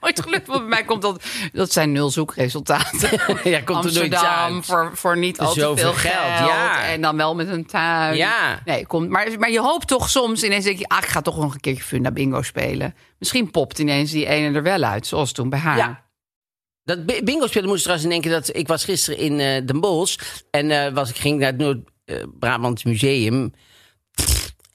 [SPEAKER 4] Ooit gelukt, want bij mij komt dat... Dat zijn nul zoekresultaten.
[SPEAKER 2] Ja, komt er nooit
[SPEAKER 4] Amsterdam
[SPEAKER 2] uit.
[SPEAKER 4] voor, voor niet al te
[SPEAKER 2] Zoveel
[SPEAKER 4] veel
[SPEAKER 2] geld,
[SPEAKER 4] geld.
[SPEAKER 2] ja.
[SPEAKER 4] En dan wel met een tuin.
[SPEAKER 2] Ja.
[SPEAKER 4] Nee, komt, maar, maar je hoopt toch soms ineens denk je... Ah, ik ga toch nog een keertje Funda Bingo spelen. Misschien popt ineens die ene er wel uit, zoals toen bij haar.
[SPEAKER 2] Ja. Dat bi- bingo spelen moest trouwens denken dat ik was gisteren in eh Den Bosch en eh, was ik ging naar het Noord-Brabant Museum.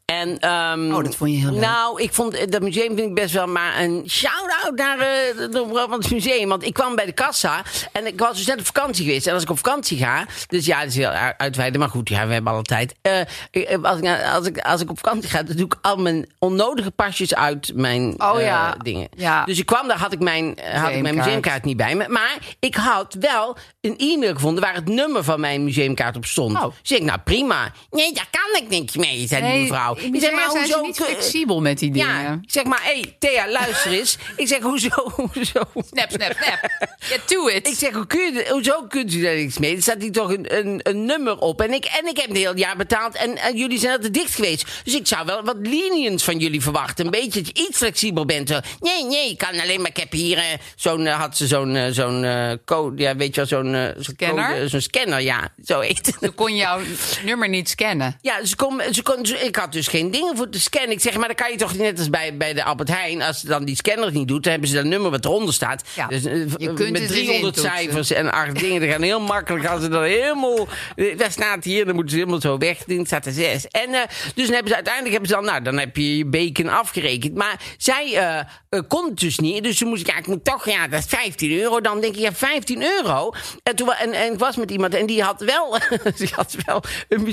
[SPEAKER 2] En, ehm,
[SPEAKER 4] Oh, dat vond je heel leuk.
[SPEAKER 2] Nou, ik vond eh, dat museum vind ik best wel maar een shout-out naar eh, het Noord-Brabants Museum. Want ik kwam bij de kassa en ik was dus net op vakantie geweest. En als ik op vakantie ga, dus ja, dat is heel u- uitweiden, maar goed, ja, we hebben alle tijd. Eh, eh, als, ik, naar- als, ik, als ik op vakantie ga, dan doe ik al mijn onnodige pasjes uit mijn
[SPEAKER 4] Oh,
[SPEAKER 2] eh,
[SPEAKER 4] ja.
[SPEAKER 2] dingen.
[SPEAKER 4] Ja.
[SPEAKER 2] Dus ik kwam daar, had ik mijn, eh, had ik mijn
[SPEAKER 4] Museumkaart.
[SPEAKER 2] museumkaart niet bij me. Maar ik had wel een e-mail gevonden waar het nummer van mijn museumkaart op stond.
[SPEAKER 4] Oh.
[SPEAKER 2] Dus ik, nou prima. Nee, daar kan ik niks mee, zei die mevrouw.
[SPEAKER 4] in
[SPEAKER 2] Ik zeg,
[SPEAKER 4] musea zijn ze
[SPEAKER 2] hoezo
[SPEAKER 4] niet
[SPEAKER 2] kun-
[SPEAKER 4] flexibel met die dingen.
[SPEAKER 2] Ja, ik zeg maar, hé, hey, Thea, luister eens. ik zeg, hoezo, hoezo?
[SPEAKER 4] Snap, snap, snap. Get to it.
[SPEAKER 2] Ik zeg, hoe kun je, hoezo kunt u daar niks mee? Er staat hier toch een, een, een nummer op. En ik, en ik heb een heel jaar betaald en, en jullie zijn altijd dicht geweest. Dus ik zou wel wat lenience van jullie verwachten. Een beetje dat je iets flexibel bent. Zo, nee, nee, ik kan alleen maar... Ik heb hier eh, zo'n... eh, had ze zo'n eh, zo'n eh, code... Ja, weet je wel, zo'n... eh, zo'n
[SPEAKER 4] Scanner?
[SPEAKER 2] code, eh, Zo'n scanner, ja. Zo heet het.
[SPEAKER 4] Dan kon jouw nummer niet scannen.
[SPEAKER 2] Ja, ze kon, ze kon, ze- ik had dus geen dingen voor te scannen. Ik zeg, maar dan kan je toch net als bij, bij de Albert Heijn... als ze dan die scanner niet doet, dan hebben ze dat nummer wat eronder staat.
[SPEAKER 4] Ja,
[SPEAKER 2] Dus, eh,
[SPEAKER 4] je
[SPEAKER 2] v-
[SPEAKER 4] kunt het
[SPEAKER 2] met
[SPEAKER 4] erin
[SPEAKER 2] 300
[SPEAKER 4] toetsen.
[SPEAKER 2] cijfers en acht dingen. Dat gaan heel makkelijk als ze dan helemaal... eh, Daar staat hier, dan moeten ze helemaal zo weg. Dan staat er zes. En eh, dus dan hebben ze, uiteindelijk hebben ze dan... Nou, dan heb je je bacon afgerekend. Maar zij eh, eh, kon het dus niet. Dus toen moest ik, ja, ik moet toch... Ja, dat is 15 euro. Dan denk ik, ja, 15 euro. En, toen, wa- en, en ik was met iemand en die had wel, die had wel een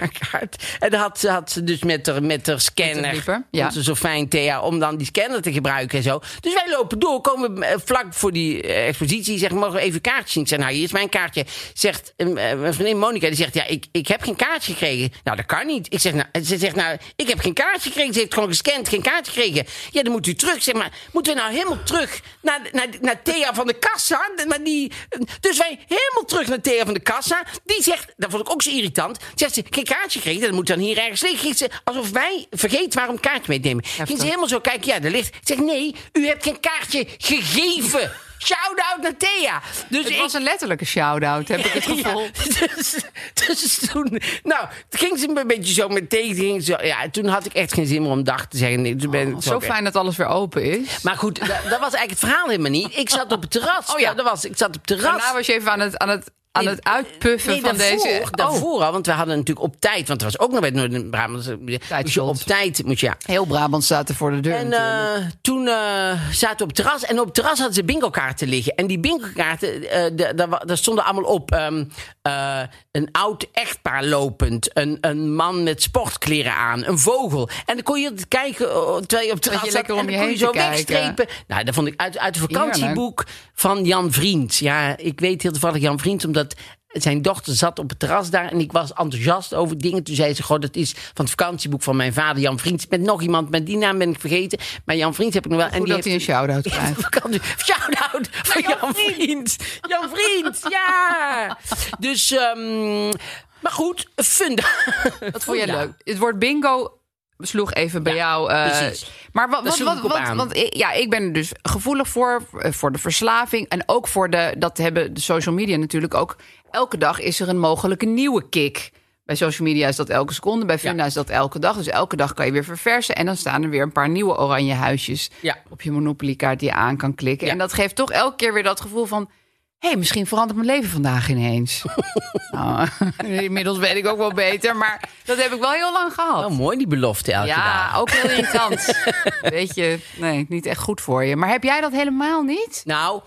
[SPEAKER 2] museumjaarkaart. En dat had, ze- had ze dus met haar, met haar scanner...
[SPEAKER 4] beeper, ja.
[SPEAKER 2] onze zo fijn, Thea, om dan die scanner te gebruiken en zo. Dus wij lopen door, komen eh, vlak voor die eh, expositie. Zeggen, mogen we even kaartjes zien? Ik zeg, nou, hier is mijn kaartje. Zegt eh, mijn vriendin Monica, die zegt, ja, ik, ik heb geen kaartje gekregen. Nou, dat kan niet. Ik zeg, nou, ze zegt, nou, ik heb geen kaartje gekregen. Ze heeft gewoon gescand, geen kaartje gekregen. Ja, dan moet u terug. Ik Zeg maar, moeten we nou helemaal terug naar, naar, naar Thea van de kassa? Naar die, dus wij helemaal terug naar Thea van de kassa. Die zegt, dat vond ik ook zo irritant. Zegt ze, geen kaartje gekregen, dat moet dan hier ergens liggen. Ging ze, alsof wij vergeten waarom kaartje meenemen. Ging ze helemaal zo kijken, ja, daar ligt. Ik zeg, nee, u hebt geen kaartje gegeven. Shout-out naar Thea. Dus
[SPEAKER 4] Het
[SPEAKER 2] ik,
[SPEAKER 4] was een letterlijke shout-out, heb ik het gevoel.
[SPEAKER 2] ja, dus, dus toen, nou, toen ging ze me een beetje zo meteen. Ging ze, ja, toen had ik echt geen zin meer om dag te zeggen. Nee, toen ben ik
[SPEAKER 4] Oh,
[SPEAKER 2] zo
[SPEAKER 4] Zo
[SPEAKER 2] weg.
[SPEAKER 4] fijn dat alles weer open is.
[SPEAKER 2] Maar goed, da- dat was eigenlijk het verhaal helemaal niet. Ik zat op het terras.
[SPEAKER 4] Oh ja. nou
[SPEAKER 2] dat was, ik zat op het terras.
[SPEAKER 4] Daarna was je even aan het, aan het aan
[SPEAKER 2] Nee,
[SPEAKER 4] het uitpuffen
[SPEAKER 2] nee,
[SPEAKER 4] van
[SPEAKER 2] daarvoor,
[SPEAKER 4] deze... Oh,
[SPEAKER 2] Daarvoor al, want we hadden natuurlijk op tijd... want er was ook nog bij het Noord-Brabant... Moet je op
[SPEAKER 4] Tijdschuld.
[SPEAKER 2] tijd... Moet je, ja.
[SPEAKER 4] heel Brabant staat er voor de deur
[SPEAKER 2] En
[SPEAKER 4] natuurlijk.
[SPEAKER 2] eh, toen eh, zaten we op het terras. En op het terras hadden ze bingo-kaarten liggen. En die bingo-kaarten, eh, de- daar wa- daar stonden allemaal op... ehm, eh, een oud echtpaar lopend. Een, een man met sportkleren aan. Een vogel. En dan kon je het kijken eh, terwijl je op het terras
[SPEAKER 4] je
[SPEAKER 2] zat.
[SPEAKER 4] lekker om
[SPEAKER 2] en dan
[SPEAKER 4] je
[SPEAKER 2] kon
[SPEAKER 4] heen
[SPEAKER 2] je zo
[SPEAKER 4] te kijken.
[SPEAKER 2] wegstrepen. Nou, dat vond ik uit, uit het vakantieboek van Jan Vriend. Ja, ik weet heel toevallig Jan Vriend, omdat... Zijn dochter zat op het terras daar en ik was enthousiast over dingen. Toen zei ze: Goh, dat is van het vakantieboek van mijn vader, Jan Vriend. Met nog iemand, met die naam ben ik vergeten. Maar Jan Vriend heb ik nog wel.
[SPEAKER 4] Hoe dat hij een shout-out krijgt.
[SPEAKER 2] Vakantie. Shout-out van Jan, Vriend. Jan Vriend, ja. Dus, ehm, maar goed, funda.
[SPEAKER 4] Dat vond je leuk. Het woord bingo sloeg even bij jou. eh,
[SPEAKER 2] precies.
[SPEAKER 4] Maar wat, wat,
[SPEAKER 2] sloeg
[SPEAKER 4] wat,
[SPEAKER 2] ik op
[SPEAKER 4] wat-
[SPEAKER 2] aan.
[SPEAKER 4] want ik- ja, ik ben er dus gevoelig voor, eh, voor de verslaving. En ook voor de, dat hebben de social media natuurlijk ook. Elke dag is er een mogelijke nieuwe kick. Bij social media is dat elke seconde, bij Funda
[SPEAKER 2] Ja.
[SPEAKER 4] is dat elke dag. Dus elke dag kan je weer verversen. En dan staan er weer een paar nieuwe oranje huisjes
[SPEAKER 2] Ja.
[SPEAKER 4] op je Monopoly-kaart die je aan kan klikken.
[SPEAKER 2] Ja.
[SPEAKER 4] En dat geeft toch elke keer weer dat gevoel van... hé, hey, misschien verandert mijn leven vandaag ineens. Nou, inmiddels weet ik ook wel beter, maar dat heb ik wel heel lang gehad.
[SPEAKER 2] Oh, mooi die belofte elke dag.
[SPEAKER 4] ja, ook heel irritant. Weet je, nee, niet echt goed voor je. Maar heb jij dat helemaal niet?
[SPEAKER 2] Nou,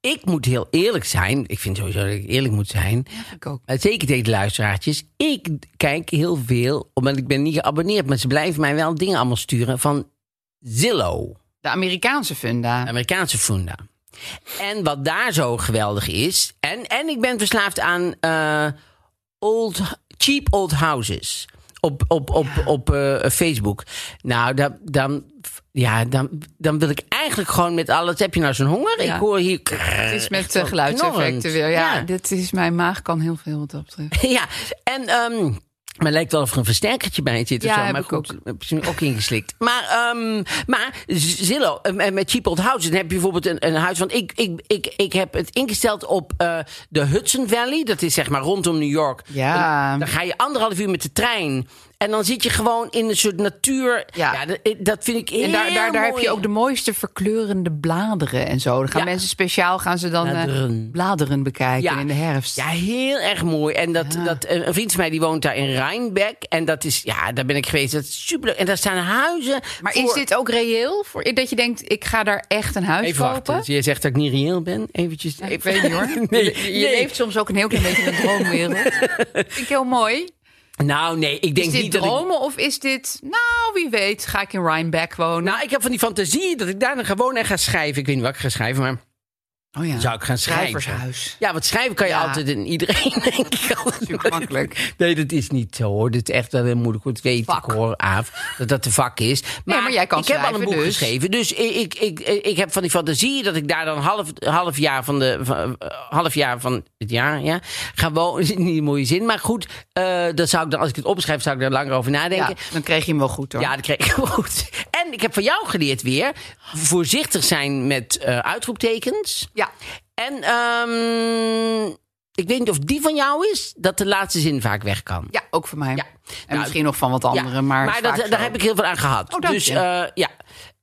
[SPEAKER 2] ik moet heel eerlijk zijn. Ik vind sowieso dat ik eerlijk moet zijn.
[SPEAKER 4] Ik ook.
[SPEAKER 2] Eh, Zeker tegen de luisteraartjes. Ik kijk heel veel, omdat ik ben niet geabonneerd. Maar ze blijven mij wel dingen allemaal sturen van Zillow.
[SPEAKER 4] De Amerikaanse funda.
[SPEAKER 2] Amerikaanse funda. En wat daar zo geweldig is. En, en ik ben verslaafd aan eh, old, cheap old houses. Op, op, op, op eh, Facebook. Nou, dan, dan, ja, dan, dan wil ik eigenlijk gewoon met alles. Heb je nou zo'n honger?
[SPEAKER 4] Ja.
[SPEAKER 2] Ik hoor hier.
[SPEAKER 4] Het is met
[SPEAKER 2] eh,
[SPEAKER 4] eh, geluidseffecten
[SPEAKER 2] knorrend.
[SPEAKER 4] weer. Ja,
[SPEAKER 2] Ja.
[SPEAKER 4] dit is mijn maag kan heel veel wat dat betreft.
[SPEAKER 2] Ja, en ehm maar het lijkt wel of er een versterkertje bij zit.
[SPEAKER 4] Ja,
[SPEAKER 2] of zo.
[SPEAKER 4] heb
[SPEAKER 2] maar
[SPEAKER 4] ik
[SPEAKER 2] goed,
[SPEAKER 4] ook.
[SPEAKER 2] heb ze ook ingeslikt. Maar, ehm, maar Z- Zillow, en- en met cheap old houses, dan heb je bijvoorbeeld een, een huis. Want ik, ik, ik, ik heb het ingesteld op eh, de Hudson Valley. Dat is zeg maar rondom New York.
[SPEAKER 4] Ja.
[SPEAKER 2] En dan ga je anderhalf uur met de trein. En dan zit je gewoon in een soort natuur.
[SPEAKER 4] Ja.
[SPEAKER 2] Ja, dat, eh, dat vind ik heel
[SPEAKER 4] En daar, daar, daar heb
[SPEAKER 2] mooi.
[SPEAKER 4] je ook de mooiste verkleurende bladeren en zo. Dan gaan
[SPEAKER 2] Ja.
[SPEAKER 4] mensen speciaal gaan ze dan eh,
[SPEAKER 2] Bladeren.
[SPEAKER 4] bladeren bekijken in de herfst.
[SPEAKER 2] Ja, heel erg mooi. En dat, dat, een een vriend van mij die woont daar in Rijnbeck. En dat is, ja, daar ben ik geweest. Dat is superleuk. En daar staan huizen.
[SPEAKER 4] Maar
[SPEAKER 2] voor-
[SPEAKER 4] is dit ook reëel? Voor, dat je denkt, ik ga daar echt een huis
[SPEAKER 2] Even
[SPEAKER 4] kopen?
[SPEAKER 2] wachten. Jij zegt dat ik niet reëel ben. Eventjes.
[SPEAKER 4] Ik weet niet hoor.
[SPEAKER 2] Nee,
[SPEAKER 4] je je
[SPEAKER 2] nee.
[SPEAKER 4] leeft soms ook een heel klein beetje in een droomwereld. Vind ik heel mooi.
[SPEAKER 2] Nou, nee, ik denk
[SPEAKER 4] Is dit
[SPEAKER 2] niet dat ik...
[SPEAKER 4] dromen of is dit... Nou, wie weet, ga ik in Rhinebeck wonen?
[SPEAKER 2] Nou, ik heb van die fantasie dat ik daar dan gewoon en ga schrijven. Ik weet niet wat ik ga schrijven, maar
[SPEAKER 4] oh ja.
[SPEAKER 2] zou ik gaan schrijven?
[SPEAKER 4] Schrijvershuis.
[SPEAKER 2] Ja, want schrijven kan je
[SPEAKER 4] Ja.
[SPEAKER 2] altijd in iedereen, denk ik.
[SPEAKER 4] Super makkelijk.
[SPEAKER 2] Nee, dat is niet zo hoor. Dit is echt wel heel moeilijk. Goed, weet
[SPEAKER 4] Vak.
[SPEAKER 2] ik hoor, Aaf, dat dat de vak is. Maar,
[SPEAKER 4] maar jij kan
[SPEAKER 2] ik heb al een
[SPEAKER 4] schrijven,
[SPEAKER 2] boek
[SPEAKER 4] dus.
[SPEAKER 2] geschreven. Dus ik, ik, ik, ik heb van die fantasie dat ik daar dan half, half jaar van de van, eh, half jaar van het jaar, ja, ga wonen. Niet een mooie zin, maar goed. eh dat zou ik dan, als ik het opschrijf, zou ik daar langer over
[SPEAKER 4] Ja,
[SPEAKER 2] nadenken.
[SPEAKER 4] dan kreeg je hem wel goed hoor.
[SPEAKER 2] Ja, dat kreeg ik goed. En ik heb van jou geleerd weer voorzichtig zijn met eh, uitroeptekens.
[SPEAKER 4] Ja.
[SPEAKER 2] En ehm, ik weet niet of die van jou is, dat de laatste zin vaak weg kan.
[SPEAKER 4] Ja, ook voor mij.
[SPEAKER 2] Ja.
[SPEAKER 4] En
[SPEAKER 2] Nou,
[SPEAKER 4] misschien nog van wat
[SPEAKER 2] Ja,
[SPEAKER 4] anderen, maar,
[SPEAKER 2] dat,
[SPEAKER 4] vaak
[SPEAKER 2] daar
[SPEAKER 4] zo.
[SPEAKER 2] heb ik heel veel aan gehad.
[SPEAKER 4] Oh, dank
[SPEAKER 2] dus
[SPEAKER 4] je.
[SPEAKER 2] eh, ja.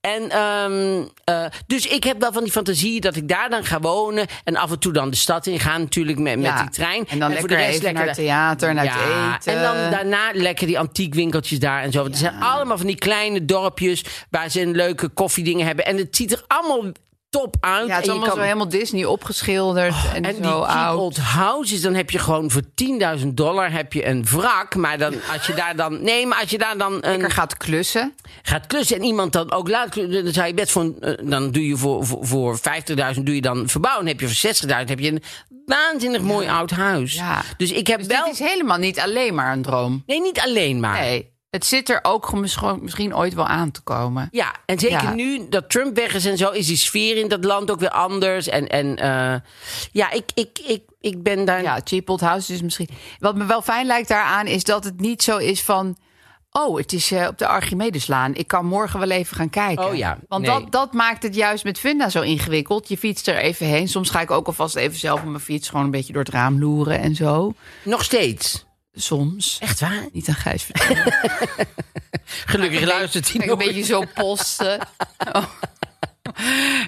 [SPEAKER 2] En, ehm, eh, dus ik heb wel van die fantasie dat ik daar dan ga wonen. En af en toe dan de stad in gaan, natuurlijk met,
[SPEAKER 4] Ja.
[SPEAKER 2] met die trein.
[SPEAKER 4] En dan
[SPEAKER 2] voor
[SPEAKER 4] lekker
[SPEAKER 2] de rest
[SPEAKER 4] even
[SPEAKER 2] lekker
[SPEAKER 4] naar
[SPEAKER 2] daar-
[SPEAKER 4] theater, naar het
[SPEAKER 2] Ja,
[SPEAKER 4] eten.
[SPEAKER 2] En dan daarna lekker die antiekwinkeltjes daar en zo. Want Het zijn allemaal van die kleine dorpjes waar ze een leuke koffiedingen hebben. En het ziet er allemaal top uit.
[SPEAKER 4] Ja, het
[SPEAKER 2] En
[SPEAKER 4] is
[SPEAKER 2] je
[SPEAKER 4] allemaal
[SPEAKER 2] kan- Oh,
[SPEAKER 4] zo helemaal Disney opgeschilderd en,
[SPEAKER 2] en die
[SPEAKER 4] zo
[SPEAKER 2] cheap
[SPEAKER 4] oud.
[SPEAKER 2] old houses, dan heb je gewoon voor 10.000 dollar heb je een wrak. Maar dan, als je daar dan... Nee, maar als je daar dan een,
[SPEAKER 4] Lekker gaat klussen.
[SPEAKER 2] gaat klussen en iemand dan ook laat klussen, dan zou je best voor, een, eh, dan doe je voor, voor, voor 50.000 doe je dan verbouwen. Dan heb je voor 60.000 heb je een waanzinnig mooi oud huis.
[SPEAKER 4] Ja.
[SPEAKER 2] Dus ik heb
[SPEAKER 4] Dus
[SPEAKER 2] wel,
[SPEAKER 4] dit is helemaal niet alleen maar een droom.
[SPEAKER 2] nee, niet alleen maar.
[SPEAKER 4] Nee, het zit er ook misschien- misschien ooit wel aan te komen.
[SPEAKER 2] Ja, en zeker
[SPEAKER 4] Ja.
[SPEAKER 2] nu dat Trump weg is en zo, is die sfeer in dat land ook weer anders. En, en eh, ja, ik, ik, ik, ik ben daar.
[SPEAKER 4] Ja, cheap old house is misschien. Wat me wel fijn lijkt daaraan is dat het niet zo is van. Oh, het is eh, op de Archimedeslaan. Ik kan morgen wel even gaan kijken.
[SPEAKER 2] Oh ja,
[SPEAKER 4] Want
[SPEAKER 2] nee.
[SPEAKER 4] dat, dat maakt het juist met Funda zo ingewikkeld. Je fietst er even heen. Soms ga ik ook alvast even zelf op mijn fiets gewoon een beetje door het raam loeren en zo.
[SPEAKER 2] nog steeds.
[SPEAKER 4] Soms.
[SPEAKER 2] Echt waar?
[SPEAKER 4] Niet aan Gijs vertellen.
[SPEAKER 2] Gelukkig luistert hij
[SPEAKER 4] Kijk, een
[SPEAKER 2] nog.
[SPEAKER 4] beetje zo posten. Oh.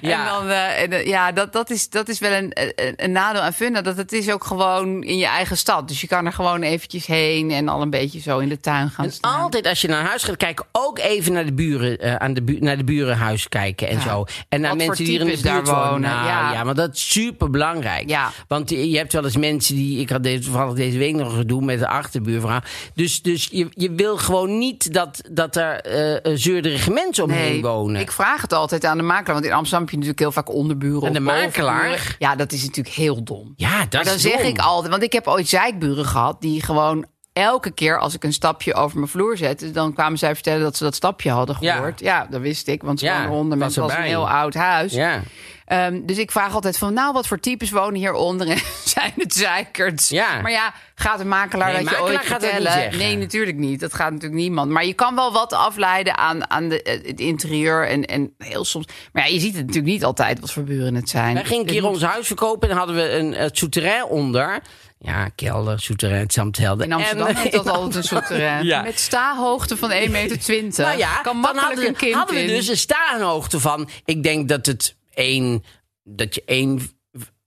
[SPEAKER 4] En dan, eh, en, eh, ja, dat, dat, is, dat is wel een, een, een nadeel aan Funda. Dat het is ook gewoon in je eigen stad. Dus je kan er gewoon eventjes heen en al een beetje zo in de tuin gaan
[SPEAKER 2] En
[SPEAKER 4] staan.
[SPEAKER 2] altijd als je naar huis gaat kijken, ook even naar de buren, eh, aan de bu- naar de burenhuis kijken en
[SPEAKER 4] Ja.
[SPEAKER 2] zo. En naar
[SPEAKER 4] Wat voor
[SPEAKER 2] mensen die hier in de
[SPEAKER 4] types
[SPEAKER 2] buurt
[SPEAKER 4] daar wonen,
[SPEAKER 2] Nou, ja.
[SPEAKER 4] ja.
[SPEAKER 2] maar dat is super belangrijk.
[SPEAKER 4] Ja.
[SPEAKER 2] Want je je hebt wel eens mensen die. Ik had deze, toevallig deze week nog een gedoe met de achterbuurvrouw. Dus, dus je, je wil gewoon niet dat, dat er eh zeurderige mensen omheen wonen.
[SPEAKER 4] ik vraag het altijd aan de makelaar. Want in Amsterdam heb je natuurlijk heel vaak onderburen.
[SPEAKER 2] En
[SPEAKER 4] of
[SPEAKER 2] de makelaar?
[SPEAKER 4] bovenburen. Ja, dat is natuurlijk heel dom.
[SPEAKER 2] ja, dat
[SPEAKER 4] Maar dan
[SPEAKER 2] is
[SPEAKER 4] zeg
[SPEAKER 2] dom.
[SPEAKER 4] ik altijd, want ik heb ooit zeikburen gehad die gewoon elke keer als ik een stapje over mijn vloer zette, dan kwamen zij vertellen dat ze dat stapje hadden
[SPEAKER 2] Ja.
[SPEAKER 4] gehoord. Ja, dat wist ik, want ze
[SPEAKER 2] Ja,
[SPEAKER 4] waren
[SPEAKER 2] was
[SPEAKER 4] onder met het was een
[SPEAKER 2] erbij.
[SPEAKER 4] heel oud huis.
[SPEAKER 2] Ja.
[SPEAKER 4] Ehm, dus ik vraag altijd van, nou, wat voor types wonen hieronder en zijn het zeikerts?
[SPEAKER 2] Ja.
[SPEAKER 4] Maar ja, gaat een makelaar
[SPEAKER 2] Nee,
[SPEAKER 4] dat je
[SPEAKER 2] makelaar
[SPEAKER 4] ooit
[SPEAKER 2] gaat dat niet
[SPEAKER 4] vertellen?
[SPEAKER 2] zeggen.
[SPEAKER 4] nee, natuurlijk niet. Dat gaat natuurlijk niemand. Maar je kan wel wat afleiden aan, aan de, eh, het interieur en, en heel soms. Maar ja, je ziet het natuurlijk niet altijd wat voor buren het zijn.
[SPEAKER 2] Wij gingen een
[SPEAKER 4] Dus
[SPEAKER 2] keer
[SPEAKER 4] moet-
[SPEAKER 2] ons huis verkopen en hadden we een, het souterrain onder. Ja, kelder, souterrain, het is allemaal hetzelfde.
[SPEAKER 4] In Amsterdam
[SPEAKER 2] En- eh,
[SPEAKER 4] heeft dat altijd een soort terrein.
[SPEAKER 2] Ja.
[SPEAKER 4] Met stahoogte van 1,20 meter.
[SPEAKER 2] Nou ja,
[SPEAKER 4] kan
[SPEAKER 2] dan
[SPEAKER 4] makkelijk
[SPEAKER 2] hadden we,
[SPEAKER 4] een kind
[SPEAKER 2] hadden we
[SPEAKER 4] in.
[SPEAKER 2] dus een staanhoogte van. Ik denk dat het één, dat je één.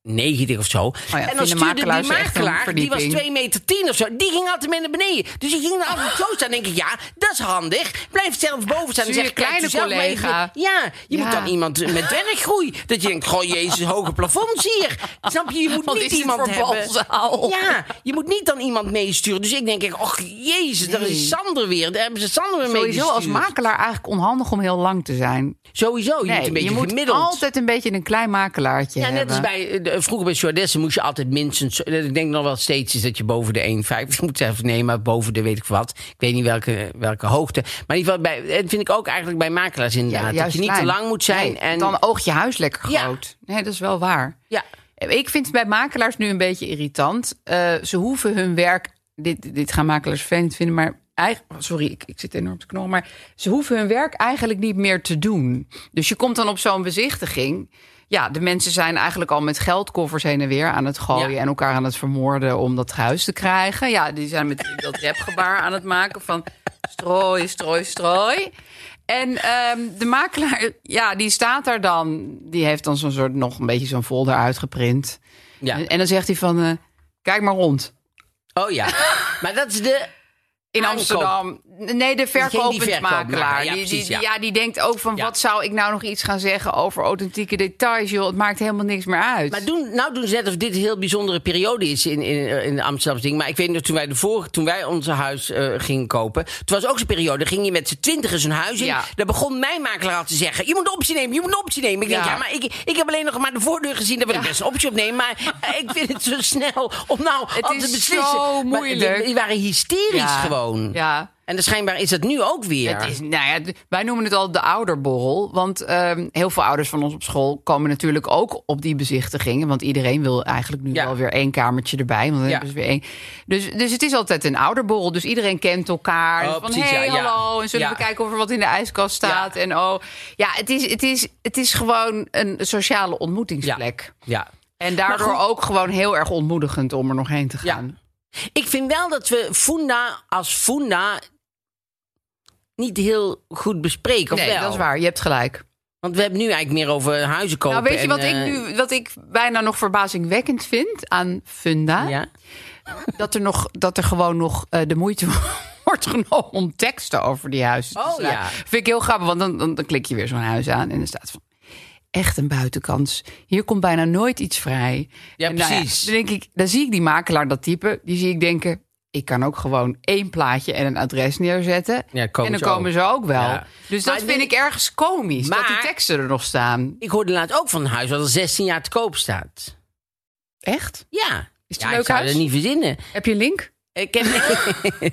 [SPEAKER 2] 90 of zo. en dan
[SPEAKER 4] Oh vinden
[SPEAKER 2] stuurde die
[SPEAKER 4] makelaars echt een
[SPEAKER 2] makelaar, die was
[SPEAKER 4] verdieping.
[SPEAKER 2] 2 meter 10 of zo, die ging altijd mee naar beneden. Dus die ging daar altijd zo staan. Dan denk ik, ja, dat is handig. Blijf zelf boven staan. en
[SPEAKER 4] Zie
[SPEAKER 2] zeg,
[SPEAKER 4] je
[SPEAKER 2] kijk,
[SPEAKER 4] kleine
[SPEAKER 2] doe zelf maar even-
[SPEAKER 4] collega.
[SPEAKER 2] Ja, je
[SPEAKER 4] Ja.
[SPEAKER 2] moet dan iemand met werkgroei. Dat je denkt, goh, jezus, hoge plafonds hier. Snap je, je moet
[SPEAKER 4] Wat
[SPEAKER 2] niet
[SPEAKER 4] is dit
[SPEAKER 2] iemand
[SPEAKER 4] voor
[SPEAKER 2] hebben.
[SPEAKER 4] balzaal?
[SPEAKER 2] Ja, je moet niet dan iemand meesturen. Dus ik denk, echt, och, jezus, daar is Sander weer. Daar hebben ze Sander weer mee
[SPEAKER 4] Sowieso als
[SPEAKER 2] gestuurd.
[SPEAKER 4] makelaar eigenlijk onhandig om heel lang te zijn.
[SPEAKER 2] Sowieso, je moet een beetje
[SPEAKER 4] je moet
[SPEAKER 2] gemiddeld.
[SPEAKER 4] altijd een beetje een klein makelaartje
[SPEAKER 2] ja, net
[SPEAKER 4] hebben.
[SPEAKER 2] als bij, eh, de- vroeger bij Jordessen moest je altijd minstens... Ik denk nog wel steeds is dat je boven de 1,50 moet zeggen. Nee, maar boven de weet ik wat. Ik weet niet welke, welke hoogte. Maar in ieder geval, bij, dat vind ik ook eigenlijk bij makelaars
[SPEAKER 4] Ja,
[SPEAKER 2] inderdaad. dat
[SPEAKER 4] juist
[SPEAKER 2] je niet te
[SPEAKER 4] klein.
[SPEAKER 2] lang moet zijn.
[SPEAKER 4] Nee,
[SPEAKER 2] en,
[SPEAKER 4] Dan oogt je huis lekker
[SPEAKER 2] Ja.
[SPEAKER 4] groot. Nee, dat is wel waar.
[SPEAKER 2] ja,
[SPEAKER 4] Ik vind het bij makelaars nu een beetje irritant. Eh, ze hoeven hun werk. Dit, dit gaan makelaars vervelend vinden, maar. eigen- oh, Sorry, ik, ik zit enorm te knorren. Maar ze hoeven hun werk eigenlijk niet meer te doen. Dus je komt dan op zo'n bezichtiging. Ja, de mensen zijn eigenlijk al met geldkoffers heen en weer aan het gooien.
[SPEAKER 2] Ja.
[SPEAKER 4] En elkaar aan het vermoorden om dat huis te krijgen. Ja, die zijn met dat repgebaar aan het maken van strooi, strooi, strooi. En ehm, de makelaar, ja, die staat daar dan. Die heeft dan zo'n soort, nog een beetje zo'n folder uitgeprint.
[SPEAKER 2] ja.
[SPEAKER 4] En, en dan zegt hij van, eh, kijk maar rond.
[SPEAKER 2] Oh ja. maar dat is de...
[SPEAKER 4] In
[SPEAKER 2] Aankoop.
[SPEAKER 4] Amsterdam. Nee, de
[SPEAKER 2] Geen die
[SPEAKER 4] verkopend
[SPEAKER 2] verkoopmakelaar,
[SPEAKER 4] makelaar.
[SPEAKER 2] ja,
[SPEAKER 4] Die, die,
[SPEAKER 2] precies,
[SPEAKER 4] die-
[SPEAKER 2] ja.
[SPEAKER 4] ja, die denkt ook van,
[SPEAKER 2] Ja.
[SPEAKER 4] wat zou ik nou nog iets gaan zeggen over authentieke details? Joh, het maakt helemaal niks meer uit.
[SPEAKER 2] Maar doen, nou doen ze net of dit een heel bijzondere periode is in, in, in de Amsterdamse ding. Maar ik weet nog, toen wij, de vorige, toen wij ons huis eh, gingen kopen... Toen was ook zo'n periode, ging je met z'n twintigers een huis in.
[SPEAKER 4] Ja.
[SPEAKER 2] Daar begon mijn makelaar al te zeggen... je moet een optie nemen, je moet een optie nemen. Ik denk,
[SPEAKER 4] Ja.
[SPEAKER 2] ja, maar ik, ik heb alleen nog maar de voordeur gezien... daar wil ik best een optie op nemen. Maar eh, ik vind het zo snel om nou
[SPEAKER 4] Het
[SPEAKER 2] al te
[SPEAKER 4] is
[SPEAKER 2] beslissen.
[SPEAKER 4] zo
[SPEAKER 2] Maar de-
[SPEAKER 4] moeilijk.
[SPEAKER 2] die waren hysterisch
[SPEAKER 4] Ja.
[SPEAKER 2] gewoon.
[SPEAKER 4] Ja.
[SPEAKER 2] En dan schijnbaar is dat nu ook weer.
[SPEAKER 4] Het is, nou ja, d- wij noemen het al de ouderborrel. Want ehm, heel veel ouders van ons op school komen natuurlijk ook op die bezichtigingen. Want iedereen wil eigenlijk nu
[SPEAKER 2] Ja.
[SPEAKER 4] wel weer één kamertje erbij. Want dan
[SPEAKER 2] Ja.
[SPEAKER 4] hebben ze weer één. Dus, dus het is altijd een ouderborrel. Dus iedereen kent elkaar.
[SPEAKER 2] Oh,
[SPEAKER 4] van
[SPEAKER 2] precies,
[SPEAKER 4] hey,
[SPEAKER 2] ja, ja.
[SPEAKER 4] hallo. En zullen
[SPEAKER 2] Ja.
[SPEAKER 4] we kijken of er wat in de ijskast staat.
[SPEAKER 2] Ja.
[SPEAKER 4] En oh, ja, het is, het, is, het is gewoon een sociale ontmoetingsplek.
[SPEAKER 2] ja.
[SPEAKER 4] En daardoor
[SPEAKER 2] Maar goed.
[SPEAKER 4] ook gewoon heel erg ontmoedigend om er nog heen te
[SPEAKER 2] Ja.
[SPEAKER 4] gaan.
[SPEAKER 2] Ik vind wel dat we Funda als Funda niet heel goed bespreken. Of
[SPEAKER 4] Nee,
[SPEAKER 2] wel?
[SPEAKER 4] dat is waar. Je hebt gelijk.
[SPEAKER 2] Want we hebben nu eigenlijk meer over huizen kopen.
[SPEAKER 4] Nou, weet je
[SPEAKER 2] en,
[SPEAKER 4] wat
[SPEAKER 2] eh,
[SPEAKER 4] ik nu wat ik bijna nog verbazingwekkend vind aan Funda?
[SPEAKER 2] Ja?
[SPEAKER 4] Dat, er nog, dat er gewoon nog eh, de moeite wordt genomen om teksten over die huizen te
[SPEAKER 2] Oh,
[SPEAKER 4] schrijven.
[SPEAKER 2] ja.
[SPEAKER 4] Vind ik heel grappig, want dan, dan, dan klik je weer zo'n huis aan en er staat van... Echt een buitenkans. Hier komt bijna nooit iets vrij.
[SPEAKER 2] Ja,
[SPEAKER 4] En nou
[SPEAKER 2] precies.
[SPEAKER 4] dan, denk ik, dan zie ik die makelaar, dat type, die zie ik denken... Ik kan ook gewoon één plaatje en een adres neerzetten.
[SPEAKER 2] Ja, komen
[SPEAKER 4] en dan
[SPEAKER 2] ze
[SPEAKER 4] komen
[SPEAKER 2] ook.
[SPEAKER 4] ze ook wel.
[SPEAKER 2] Ja.
[SPEAKER 4] Dus
[SPEAKER 2] Maar
[SPEAKER 4] dat
[SPEAKER 2] dit-
[SPEAKER 4] vind ik ergens komisch, dat
[SPEAKER 2] Maar-
[SPEAKER 4] die teksten er nog staan.
[SPEAKER 2] Ik hoorde laatst ook van een huis wat al 16 jaar te koop staat.
[SPEAKER 4] Echt?
[SPEAKER 2] Ja.
[SPEAKER 4] Is het
[SPEAKER 2] ja,
[SPEAKER 4] een
[SPEAKER 2] ik
[SPEAKER 4] leuk
[SPEAKER 2] zou
[SPEAKER 4] huis?
[SPEAKER 2] dat niet verzinnen.
[SPEAKER 4] Heb je een link?
[SPEAKER 2] Ik heb,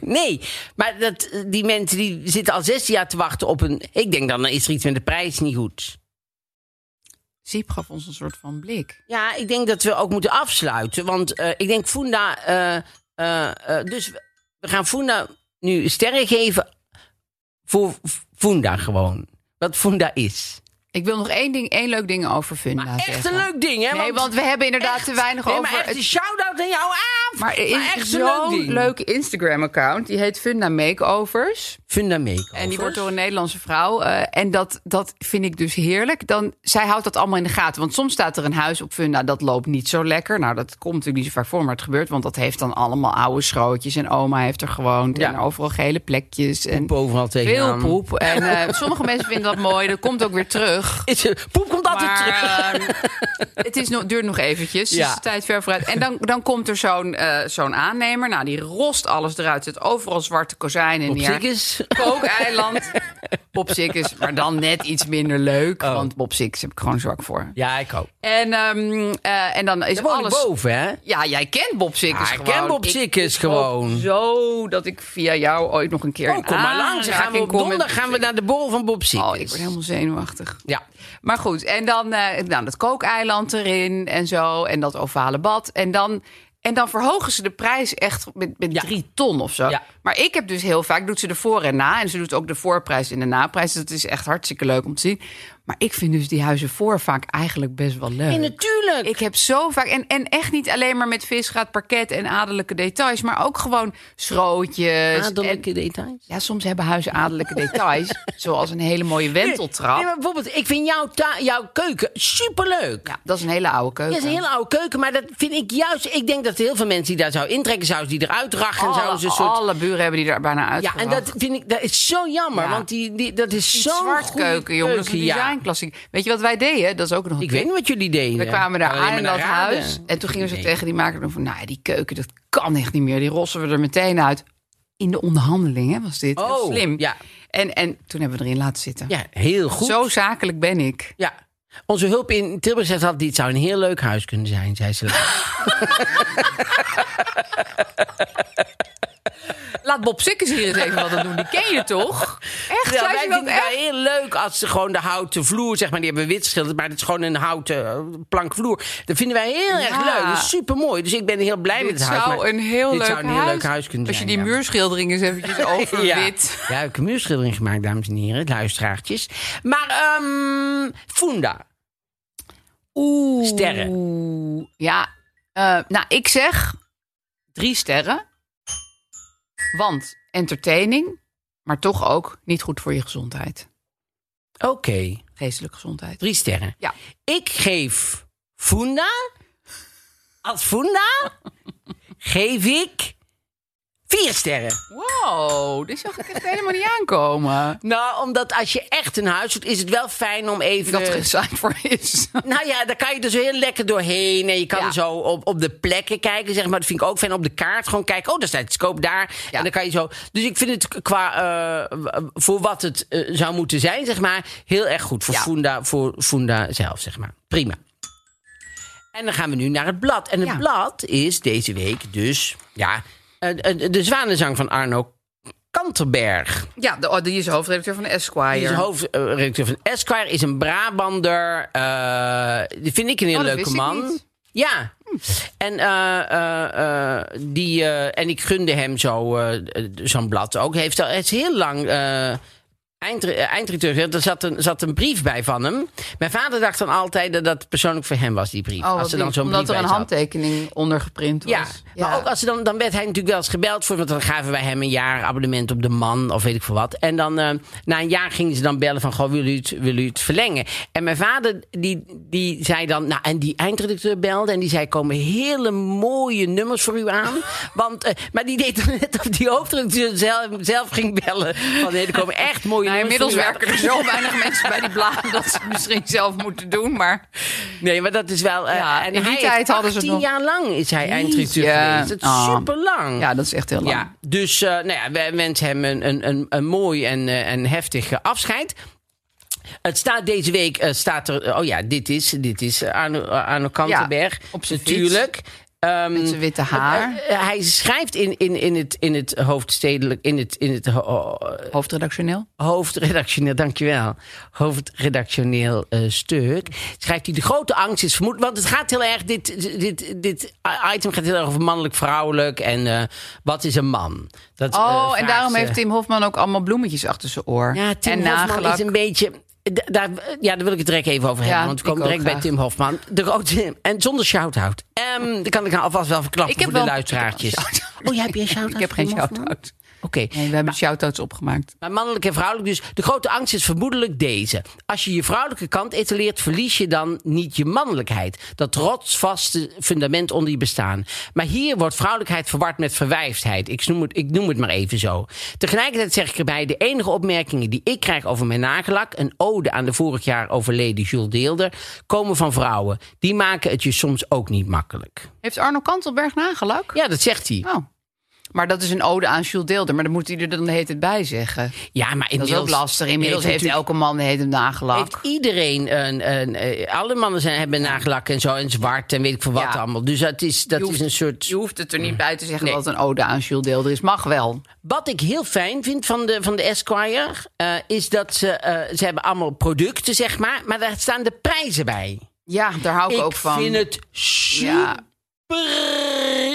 [SPEAKER 2] nee, maar dat, die mensen die zitten al 16 jaar te wachten op een... Ik denk dan, dan is er iets met de prijs niet goed.
[SPEAKER 4] Siep gaf ons een soort van blik.
[SPEAKER 2] Ja, ik denk dat we ook moeten afsluiten. Want eh, ik denk Funda. eh, eh, eh, dus we- we gaan Funda nu sterren geven voor v- Funda gewoon. Wat Funda is.
[SPEAKER 4] Ik wil nog één, ding, één leuk ding over Funda
[SPEAKER 2] Echt
[SPEAKER 4] zeggen.
[SPEAKER 2] een leuk ding, hè?
[SPEAKER 4] Nee, want we hebben inderdaad
[SPEAKER 2] echt-
[SPEAKER 4] te weinig
[SPEAKER 2] nee,
[SPEAKER 4] over
[SPEAKER 2] Maar echt
[SPEAKER 4] het-
[SPEAKER 2] een shout-out dat aan jou af.
[SPEAKER 4] Maar er is
[SPEAKER 2] echt een leuk
[SPEAKER 4] zo'n
[SPEAKER 2] ding.
[SPEAKER 4] leuke Instagram-account. Die heet Funda Makeovers.
[SPEAKER 2] Funda Makeovers.
[SPEAKER 4] En die wordt door een Nederlandse vrouw. eh, en dat, dat vind ik dus heerlijk. Dan, zij houdt dat allemaal in de gaten. Want soms staat er een huis op Funda, dat loopt niet zo lekker. Nou, dat komt natuurlijk niet zo vaak voor, maar het gebeurt. Want dat heeft dan allemaal oude schrootjes. En oma heeft er gewoond.
[SPEAKER 2] Ja.
[SPEAKER 4] En overal gele plekjes. En
[SPEAKER 2] Poep overal
[SPEAKER 4] veel
[SPEAKER 2] tegenaan.
[SPEAKER 4] poep. En eh, sommige mensen vinden dat mooi. Dat komt ook weer terug.
[SPEAKER 2] Is, poep komt altijd terug.
[SPEAKER 4] Maar ehm, het is nog, duurt nog eventjes. Dus
[SPEAKER 2] Ja.
[SPEAKER 4] de tijd ver vooruit. En dan, dan komt er zo'n eh, zo'n aannemer. Nou, die rost alles eruit. Zet overal zwarte kozijnen
[SPEAKER 2] Op
[SPEAKER 4] neer.
[SPEAKER 2] zich is...
[SPEAKER 4] Kookeiland. Bob Sikkes, maar dan net iets minder leuk. Want Bob Sikkes heb ik gewoon zwak voor.
[SPEAKER 2] Oh. Ja, ik ook.
[SPEAKER 4] En, ehm, eh, en dan is
[SPEAKER 2] Je woont
[SPEAKER 4] alles...
[SPEAKER 2] boven, hè?
[SPEAKER 4] Ja, jij kent Bob Sikkes
[SPEAKER 2] Ja, ik
[SPEAKER 4] gewoon.
[SPEAKER 2] ken Bob
[SPEAKER 4] Ik-
[SPEAKER 2] Sikkes
[SPEAKER 4] ik hoop
[SPEAKER 2] gewoon.
[SPEAKER 4] Zo dat ik via jou ooit nog een keer
[SPEAKER 2] Oh,
[SPEAKER 4] een
[SPEAKER 2] kom maar langs. Dan Gaan we
[SPEAKER 4] aanraking
[SPEAKER 2] op
[SPEAKER 4] kom met
[SPEAKER 2] donderdag
[SPEAKER 4] Bob
[SPEAKER 2] gaan we naar de bol van Bob Sikkes.
[SPEAKER 4] Oh, ik word helemaal zenuwachtig.
[SPEAKER 2] Ja.
[SPEAKER 4] Maar goed, en dan eh, nou, dat kookeiland erin en zo. En dat ovale bad. En dan, en dan verhogen ze de prijs echt met, met
[SPEAKER 2] Ja.
[SPEAKER 4] drie ton of zo.
[SPEAKER 2] Ja.
[SPEAKER 4] Maar ik heb dus heel vaak, doet ze de voor en na. En ze doet ook de voorprijs en de naprijs. Dat is echt hartstikke leuk om te zien. Maar ik vind dus die huizen voor vaak eigenlijk best wel leuk.
[SPEAKER 2] En natuurlijk.
[SPEAKER 4] Ik heb zo vaak, en, en echt niet alleen maar met visgraat, parket en adellijke details. Maar ook gewoon schrootjes. en-
[SPEAKER 2] Adellijke details.
[SPEAKER 4] ja, soms hebben huizen adellijke details. zoals een hele mooie wenteltrap.
[SPEAKER 2] Nee, maar bijvoorbeeld, ik vind jouw, ta- jouw keuken superleuk.
[SPEAKER 4] Ja, dat is een hele oude
[SPEAKER 2] Dat
[SPEAKER 4] keuken.
[SPEAKER 2] is een hele oude keuken, maar dat vind ik juist... Ik denk dat heel veel mensen die daar zouden intrekken... zouden ze die eruit rachen en
[SPEAKER 4] alle,
[SPEAKER 2] zouden ze een soort...
[SPEAKER 4] Oh, alle buren hebben die daar bijna uit.
[SPEAKER 2] Ja, en dat vind ik... Dat is zo jammer,
[SPEAKER 4] Ja.
[SPEAKER 2] want die, die, dat is zo'n
[SPEAKER 4] zwart
[SPEAKER 2] goede
[SPEAKER 4] keuken, jongen. Dat is een
[SPEAKER 2] keuken, ja.
[SPEAKER 4] designklassiek. Weet je wat wij deden? Dat is ook nog. een
[SPEAKER 2] Ik
[SPEAKER 4] tip.
[SPEAKER 2] weet niet wat jullie deden.
[SPEAKER 4] We kwamen daar
[SPEAKER 2] Kan alleen
[SPEAKER 4] aan in
[SPEAKER 2] maar
[SPEAKER 4] dat
[SPEAKER 2] raden.
[SPEAKER 4] huis. En toen gingen ze
[SPEAKER 2] Nee.
[SPEAKER 4] tegen die maker doen van... Nou, ja, die keuken, dat kan echt niet meer. Die rossen we er meteen uit. In de onderhandeling hè, was dit. Heel
[SPEAKER 2] Oh,
[SPEAKER 4] slim.
[SPEAKER 2] ja.
[SPEAKER 4] En, en toen hebben we erin laten zitten.
[SPEAKER 2] Ja, heel goed.
[SPEAKER 4] Zo zakelijk ben ik.
[SPEAKER 2] Ja. Onze hulp in Tilburg zegt altijd, dit zou een heel leuk huis kunnen zijn, zei ze.
[SPEAKER 4] Laat Bob Sikkers hier eens even wat aan doen. Die ken je toch? Echt?
[SPEAKER 2] Ja,
[SPEAKER 4] zei
[SPEAKER 2] wij
[SPEAKER 4] ze dat
[SPEAKER 2] vinden
[SPEAKER 4] echt?
[SPEAKER 2] het wel heel leuk als ze gewoon de houten vloer, zeg maar, die hebben wit geschilderd, maar het is gewoon een houten eh, plankvloer. Dat vinden wij heel erg
[SPEAKER 4] Ja.
[SPEAKER 2] leuk. Dat is super mooi. Dus ik ben heel blij met
[SPEAKER 4] Dit
[SPEAKER 2] het huis.
[SPEAKER 4] zou
[SPEAKER 2] maar
[SPEAKER 4] een heel,
[SPEAKER 2] dit
[SPEAKER 4] leuk,
[SPEAKER 2] zou een heel
[SPEAKER 4] huis.
[SPEAKER 2] leuk huis kunnen
[SPEAKER 4] Als je
[SPEAKER 2] zijn.
[SPEAKER 4] die
[SPEAKER 2] ja.
[SPEAKER 4] muurschildering eens eventjes overwit.
[SPEAKER 2] Ja. ja, ik heb een muurschildering gemaakt, dames en heren, luisteraartjes. Maar, ehm Funda.
[SPEAKER 4] Oeh.
[SPEAKER 2] Sterren.
[SPEAKER 4] Ja, eh, nou ik zeg drie sterren. Want entertaining, maar toch ook niet goed voor je gezondheid.
[SPEAKER 2] Oké,
[SPEAKER 4] Geestelijke gezondheid.
[SPEAKER 2] drie sterren.
[SPEAKER 4] Ja.
[SPEAKER 2] Ik geef Funda, als Funda, geef ik vier sterren.
[SPEAKER 4] Wow, dit zag ik echt helemaal niet aankomen.
[SPEAKER 2] Nou, omdat als je echt een huis doet, is het wel fijn om even...
[SPEAKER 4] Dat er een site voor is.
[SPEAKER 2] Nou ja, daar kan je dus heel lekker doorheen. En je kan
[SPEAKER 4] Ja.
[SPEAKER 2] zo op, op de plekken kijken, zeg maar. Dat vind ik ook fijn. Op de kaart gewoon kijken. Oh, daar staat het scope daar.
[SPEAKER 4] Ja.
[SPEAKER 2] En dan kan je zo... Dus ik vind het qua... eh, w- voor wat het eh, zou moeten zijn, zeg maar... Heel erg goed. Voor,
[SPEAKER 4] Ja.
[SPEAKER 2] Funda, voor Funda zelf, zeg maar. Prima. En dan gaan we nu naar het blad. En het
[SPEAKER 4] Ja.
[SPEAKER 2] blad is deze week dus... Ja, eh, eh, de zwanenzang van Arno Kanterberg.
[SPEAKER 4] Ja, de, oh, die is hoofdredacteur van de Esquire.
[SPEAKER 2] Die is hoofdredacteur van Esquire, is een Brabander. eh, die vind ik een heel
[SPEAKER 4] Oh, dat
[SPEAKER 2] leuke
[SPEAKER 4] wist ik
[SPEAKER 2] man.
[SPEAKER 4] niet.
[SPEAKER 2] Ja. En, eh, eh, eh, die, eh, en ik gunde hem zo, eh, eh, zo'n blad ook. Hij heeft al, hij is heel lang eh eindre- eh, eindredacteur. Er zat een, zat een brief bij van hem. Mijn vader dacht dan altijd dat dat persoonlijk voor hem was, die brief.
[SPEAKER 4] Oh,
[SPEAKER 2] als er dan zo'n
[SPEAKER 4] omdat
[SPEAKER 2] brief bij
[SPEAKER 4] er een
[SPEAKER 2] zat.
[SPEAKER 4] handtekening onder geprint was.
[SPEAKER 2] Ja, maar ook als ze dan, dan werd hij natuurlijk wel eens gebeld voor, want dan gaven wij hem een jaar abonnement op de man of weet ik veel wat. En dan eh, na een jaar gingen ze dan bellen van, goh, wil u het, wil u het verlengen? En mijn vader, die, die zei dan, nou, en die eindredacteur belde en die zei, komen hele mooie nummers voor u aan. Want, eh, maar die deed dan net of die hoofdredacteur zelf, zelf ging bellen. Van, nee, er komen echt mooie
[SPEAKER 4] Nou,
[SPEAKER 2] nummers
[SPEAKER 4] inmiddels
[SPEAKER 2] voor u aan.
[SPEAKER 4] werken er zo weinig mensen bij die bladen dat ze het misschien zelf moeten doen. Maar
[SPEAKER 2] Nee, maar dat is wel... eh,
[SPEAKER 4] Ja,
[SPEAKER 2] en
[SPEAKER 4] in die
[SPEAKER 2] hij
[SPEAKER 4] tijd
[SPEAKER 2] heeft
[SPEAKER 4] hadden ze
[SPEAKER 2] 18
[SPEAKER 4] nog-
[SPEAKER 2] jaar lang is hij eindredacteur
[SPEAKER 4] Jeetje.
[SPEAKER 2] geweest. Dat is
[SPEAKER 4] Ah.
[SPEAKER 2] super lang.
[SPEAKER 4] ja, dat is echt heel lang.
[SPEAKER 2] Ja, dus eh nou ja, wij wensen hem een, een, een, een mooi en, eh, en heftig eh, afscheid. Het staat deze week, eh, staat er, eh, oh ja, dit is, dit is eh, Arno, eh, Arno Kantenberg.
[SPEAKER 4] Ja, op zijn
[SPEAKER 2] natuurlijk. Ehm,
[SPEAKER 4] Met zijn witte haar.
[SPEAKER 2] eh, hij schrijft in, in, in, het, in het hoofdstedelijk, in het, in het ho-
[SPEAKER 4] Hoofdredactioneel.
[SPEAKER 2] hoofdredactioneel, dankjewel, hoofdredactioneel eh, stuk, schrijft hij de grote angst is vermoed, want het gaat heel erg, dit, dit, dit item gaat heel erg over mannelijk-vrouwelijk en eh, wat is een man? Dat, eh,
[SPEAKER 4] Oh, en
[SPEAKER 2] vraagt
[SPEAKER 4] daarom
[SPEAKER 2] ze.
[SPEAKER 4] heeft Tim Hofman ook allemaal bloemetjes achter zijn oor.
[SPEAKER 2] Ja, Tim
[SPEAKER 4] en
[SPEAKER 2] Hofman
[SPEAKER 4] nagelak.
[SPEAKER 2] is een beetje... d- daar, ja, daar wil ik het direct even over hebben.
[SPEAKER 4] Ja,
[SPEAKER 2] want we
[SPEAKER 4] ik
[SPEAKER 2] komen
[SPEAKER 4] ook
[SPEAKER 2] direct bij
[SPEAKER 4] graag.
[SPEAKER 2] Tim Hofman. De grote, en zonder shout-out. Ehm dan kan ik nou alvast wel verklappen
[SPEAKER 4] Ik heb
[SPEAKER 2] voor de
[SPEAKER 4] wel-
[SPEAKER 2] luisteraartjes.
[SPEAKER 4] ik heb
[SPEAKER 2] Oh, jij hebt geen shout-out?
[SPEAKER 4] Ik heb geen
[SPEAKER 2] Tim Hofman? Nou.
[SPEAKER 4] shout-out.
[SPEAKER 2] Oké.
[SPEAKER 4] Nee, we hebben shout-outs opgemaakt.
[SPEAKER 2] Maar mannelijk en vrouwelijk dus. De grote angst is vermoedelijk deze. Als je je vrouwelijke kant etaleert, verlies je dan niet je mannelijkheid. Dat rotsvaste fundament onder je bestaan. Maar hier wordt vrouwelijkheid verward met verwijfdheid. Ik noem het, ik noem het maar even zo. Tegelijkertijd zeg ik erbij, de enige opmerkingen die ik krijg over mijn nagelak... een ode aan de vorig jaar overleden Jules Deelder... komen van vrouwen. Die maken het je soms ook niet makkelijk.
[SPEAKER 4] Heeft Arno Kantelberg nagelak?
[SPEAKER 2] Ja, dat zegt hij.
[SPEAKER 4] Oh. Maar dat is een ode aan Jules Deelder. Maar dan moet hij er dan de hele tijd bij zeggen.
[SPEAKER 2] Ja, maar
[SPEAKER 4] Dat
[SPEAKER 2] inmiddels...
[SPEAKER 4] is ook lastig. Inmiddels heeft,
[SPEAKER 2] natuurlijk-
[SPEAKER 4] elke man heeft hem nagelak.
[SPEAKER 2] Heeft iedereen een, een, eh, alle mannen zijn, hebben nagelak en zo en zwart en weet ik veel wat
[SPEAKER 4] Ja.
[SPEAKER 2] allemaal. Dus dat is, dat
[SPEAKER 4] Je hoeft-
[SPEAKER 2] is een soort.
[SPEAKER 4] Je hoeft het er niet bij te zeggen
[SPEAKER 2] Nee.
[SPEAKER 4] dat het een ode aan Jules Deelder is. Mag wel.
[SPEAKER 2] Wat ik heel fijn vind van de, van de Esquire eh, is dat ze, eh, ze hebben allemaal producten zeg maar, maar daar staan de prijzen bij.
[SPEAKER 4] Ja, daar hou ik, ook van.
[SPEAKER 2] vind het super
[SPEAKER 4] Ja.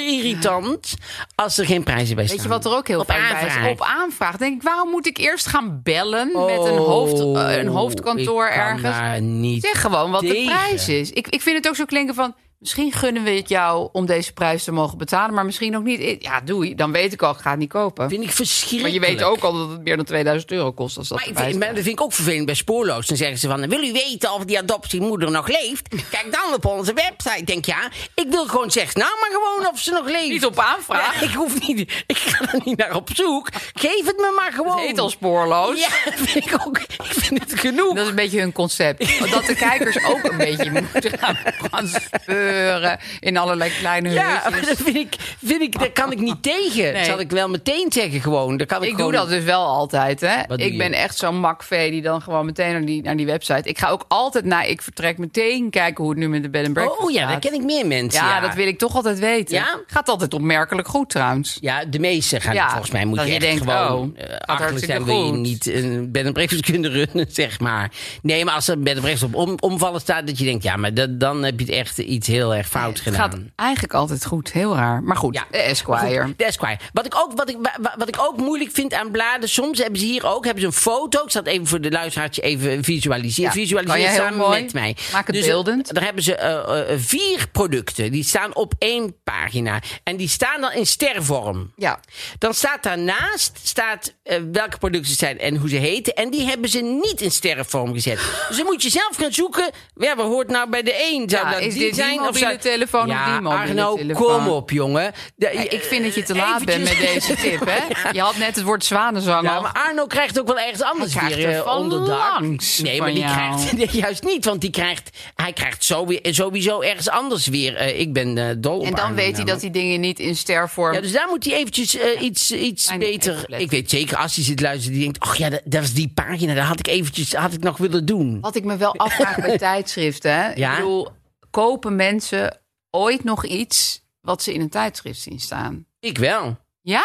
[SPEAKER 2] irritant als er geen prijzen bij staan.
[SPEAKER 4] Weet je wat er ook heel
[SPEAKER 2] Op
[SPEAKER 4] fijn bij is?
[SPEAKER 2] aanvraag.
[SPEAKER 4] Op aanvraag. Denk ik, waarom moet ik eerst gaan bellen met een, hoofd, eh, een hoofdkantoor
[SPEAKER 2] Oh, ik kan
[SPEAKER 4] ergens?
[SPEAKER 2] daar niet
[SPEAKER 4] Zeg gewoon wat de
[SPEAKER 2] tegen.
[SPEAKER 4] prijs is. Ik, ik vind het ook zo klinken van... misschien gunnen we het jou om deze prijs te mogen betalen... maar misschien ook niet. Ja, doei. Dan weet ik al, ik ga het niet kopen.
[SPEAKER 2] Vind ik
[SPEAKER 4] Maar
[SPEAKER 2] verschrikkelijk.
[SPEAKER 4] je weet ook al dat het meer dan 2000 euro kost als dat
[SPEAKER 2] Maar ik
[SPEAKER 4] erbij
[SPEAKER 2] vind, maar
[SPEAKER 4] staat.
[SPEAKER 2] dat vind ik ook vervelend bij spoorloos. Dan zeggen ze van, wil u weten of die adoptiemoeder nog leeft? Kijk dan op onze website. Ik Denk ja, ik wil gewoon zeggen, nou maar gewoon of ze nog leeft.
[SPEAKER 4] Niet op aanvraag.
[SPEAKER 2] Ja, ik hoef niet, ik ga er niet naar op zoek. Geef het me maar gewoon.
[SPEAKER 4] Het heet al spoorloos.
[SPEAKER 2] Ja, dat vind ik ook. Ik vind het genoeg.
[SPEAKER 4] Dat is een beetje hun concept. Dat de kijkers ook een beetje moeten gaan, gaan speuren in allerlei kleine
[SPEAKER 2] ja,
[SPEAKER 4] hutjes.
[SPEAKER 2] dat vind ik, vind ik, daar kan ik niet tegen.
[SPEAKER 4] Nee.
[SPEAKER 2] Dat zal ik wel meteen zeggen gewoon. Daar kan ik
[SPEAKER 4] Ik
[SPEAKER 2] gewoon-
[SPEAKER 4] doe dat dus wel altijd, hè.
[SPEAKER 2] Wat doe
[SPEAKER 4] Ik
[SPEAKER 2] je?
[SPEAKER 4] ben echt zo'n makvee die dan gewoon meteen naar die, naar die website... Ik ga ook altijd na ik vertrek meteen kijken hoe het nu met de bed and breakfast
[SPEAKER 2] Oh ja, daar
[SPEAKER 4] staat.
[SPEAKER 2] ken ik meer mensen.
[SPEAKER 4] Ja, dat wil ik toch altijd weten.
[SPEAKER 2] Ja?
[SPEAKER 4] Gaat altijd opmerkelijk goed trouwens.
[SPEAKER 2] Ja, de meeste gaan
[SPEAKER 4] Ja,
[SPEAKER 2] volgens mij moet je,
[SPEAKER 4] dat je
[SPEAKER 2] echt
[SPEAKER 4] denkt,
[SPEAKER 2] gewoon
[SPEAKER 4] oh,
[SPEAKER 2] eh, achterlijk
[SPEAKER 4] gaat hartstikke
[SPEAKER 2] zijn wil je
[SPEAKER 4] goed.
[SPEAKER 2] niet een bed en breakfast kunnen runnen, zeg maar. Nee, maar als er een bed en breakfast op om, omvallen staat, dat je denkt, ja, maar dat, dan heb je het echt iets heel erg fout
[SPEAKER 4] Het
[SPEAKER 2] gedaan.
[SPEAKER 4] gaat eigenlijk altijd goed, heel raar. Maar goed,
[SPEAKER 2] Ja.
[SPEAKER 4] de Esquire.
[SPEAKER 2] Maar goed, de Esquire. Wat ik, ook, wat, ik, wa- wa- wat ik ook moeilijk vind aan bladen, soms hebben ze hier ook hebben ze een foto. Ik zal het even voor de luisteraartje even visualiseren.
[SPEAKER 4] Ja,
[SPEAKER 2] Visualiseer
[SPEAKER 4] kan jij heel
[SPEAKER 2] samen
[SPEAKER 4] mooi.
[SPEAKER 2] met mij.
[SPEAKER 4] Maak het
[SPEAKER 2] Dus,
[SPEAKER 4] beeldend.
[SPEAKER 2] eh, Daar hebben ze eh, eh, vier producten. Die staan op één pagina. En die staan dan in stervorm.
[SPEAKER 4] Ja.
[SPEAKER 2] Dan staat daarnaast staat, eh, welke producten het zijn en hoe ze heten. En die hebben ze niet in sterrenvorm gezet. Dus dan moet je zelf gaan zoeken. Ja, wat hoort nou bij de een? Zou
[SPEAKER 4] Ja,
[SPEAKER 2] dat
[SPEAKER 4] is
[SPEAKER 2] die
[SPEAKER 4] dit die
[SPEAKER 2] zijn?
[SPEAKER 4] mobiele
[SPEAKER 2] zou-
[SPEAKER 4] telefoon of
[SPEAKER 2] ja,
[SPEAKER 4] die mobiele
[SPEAKER 2] Arno,
[SPEAKER 4] telefoon?
[SPEAKER 2] kom op, jongen. De-
[SPEAKER 4] Ik vind dat je te
[SPEAKER 2] eh,
[SPEAKER 4] laat bent met
[SPEAKER 2] eventjes-
[SPEAKER 4] deze tip, hè? Je had net het woord zwanenzang
[SPEAKER 2] Ja,
[SPEAKER 4] al.
[SPEAKER 2] maar Arno krijgt ook wel ergens anders
[SPEAKER 4] krijgt
[SPEAKER 2] weer
[SPEAKER 4] er
[SPEAKER 2] eh,
[SPEAKER 4] van
[SPEAKER 2] onderdak.
[SPEAKER 4] langs
[SPEAKER 2] Nee, maar
[SPEAKER 4] van
[SPEAKER 2] die
[SPEAKER 4] jou.
[SPEAKER 2] krijgt nee, juist niet, want die krijgt, hij krijgt zo weer- sowieso ergens anders weer. eh, ik ben eh, dol op
[SPEAKER 4] En dan
[SPEAKER 2] Arno
[SPEAKER 4] weet hij dat
[SPEAKER 2] namelijk.
[SPEAKER 4] die dingen niet in stervorm...
[SPEAKER 2] Ja, dus daar moet hij eventjes eh, iets, iets
[SPEAKER 4] Fijn even
[SPEAKER 2] beter.
[SPEAKER 4] letten.
[SPEAKER 2] Ik weet zeker, als hij zit luisteren, die denkt: Ach ja, dat, dat is die pagina, daar had ik eventjes had ik nog willen doen.
[SPEAKER 4] Wat ik me wel afvraag bij tijdschriften. Hè?
[SPEAKER 2] Ja?
[SPEAKER 4] Ik bedoel, kopen mensen ooit nog iets wat ze in een tijdschrift zien staan?
[SPEAKER 2] Ik wel.
[SPEAKER 4] Ja?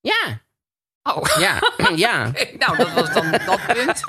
[SPEAKER 2] Ja,
[SPEAKER 4] Oh.
[SPEAKER 2] ja, ja.
[SPEAKER 4] Nou, dat was dan dat punt.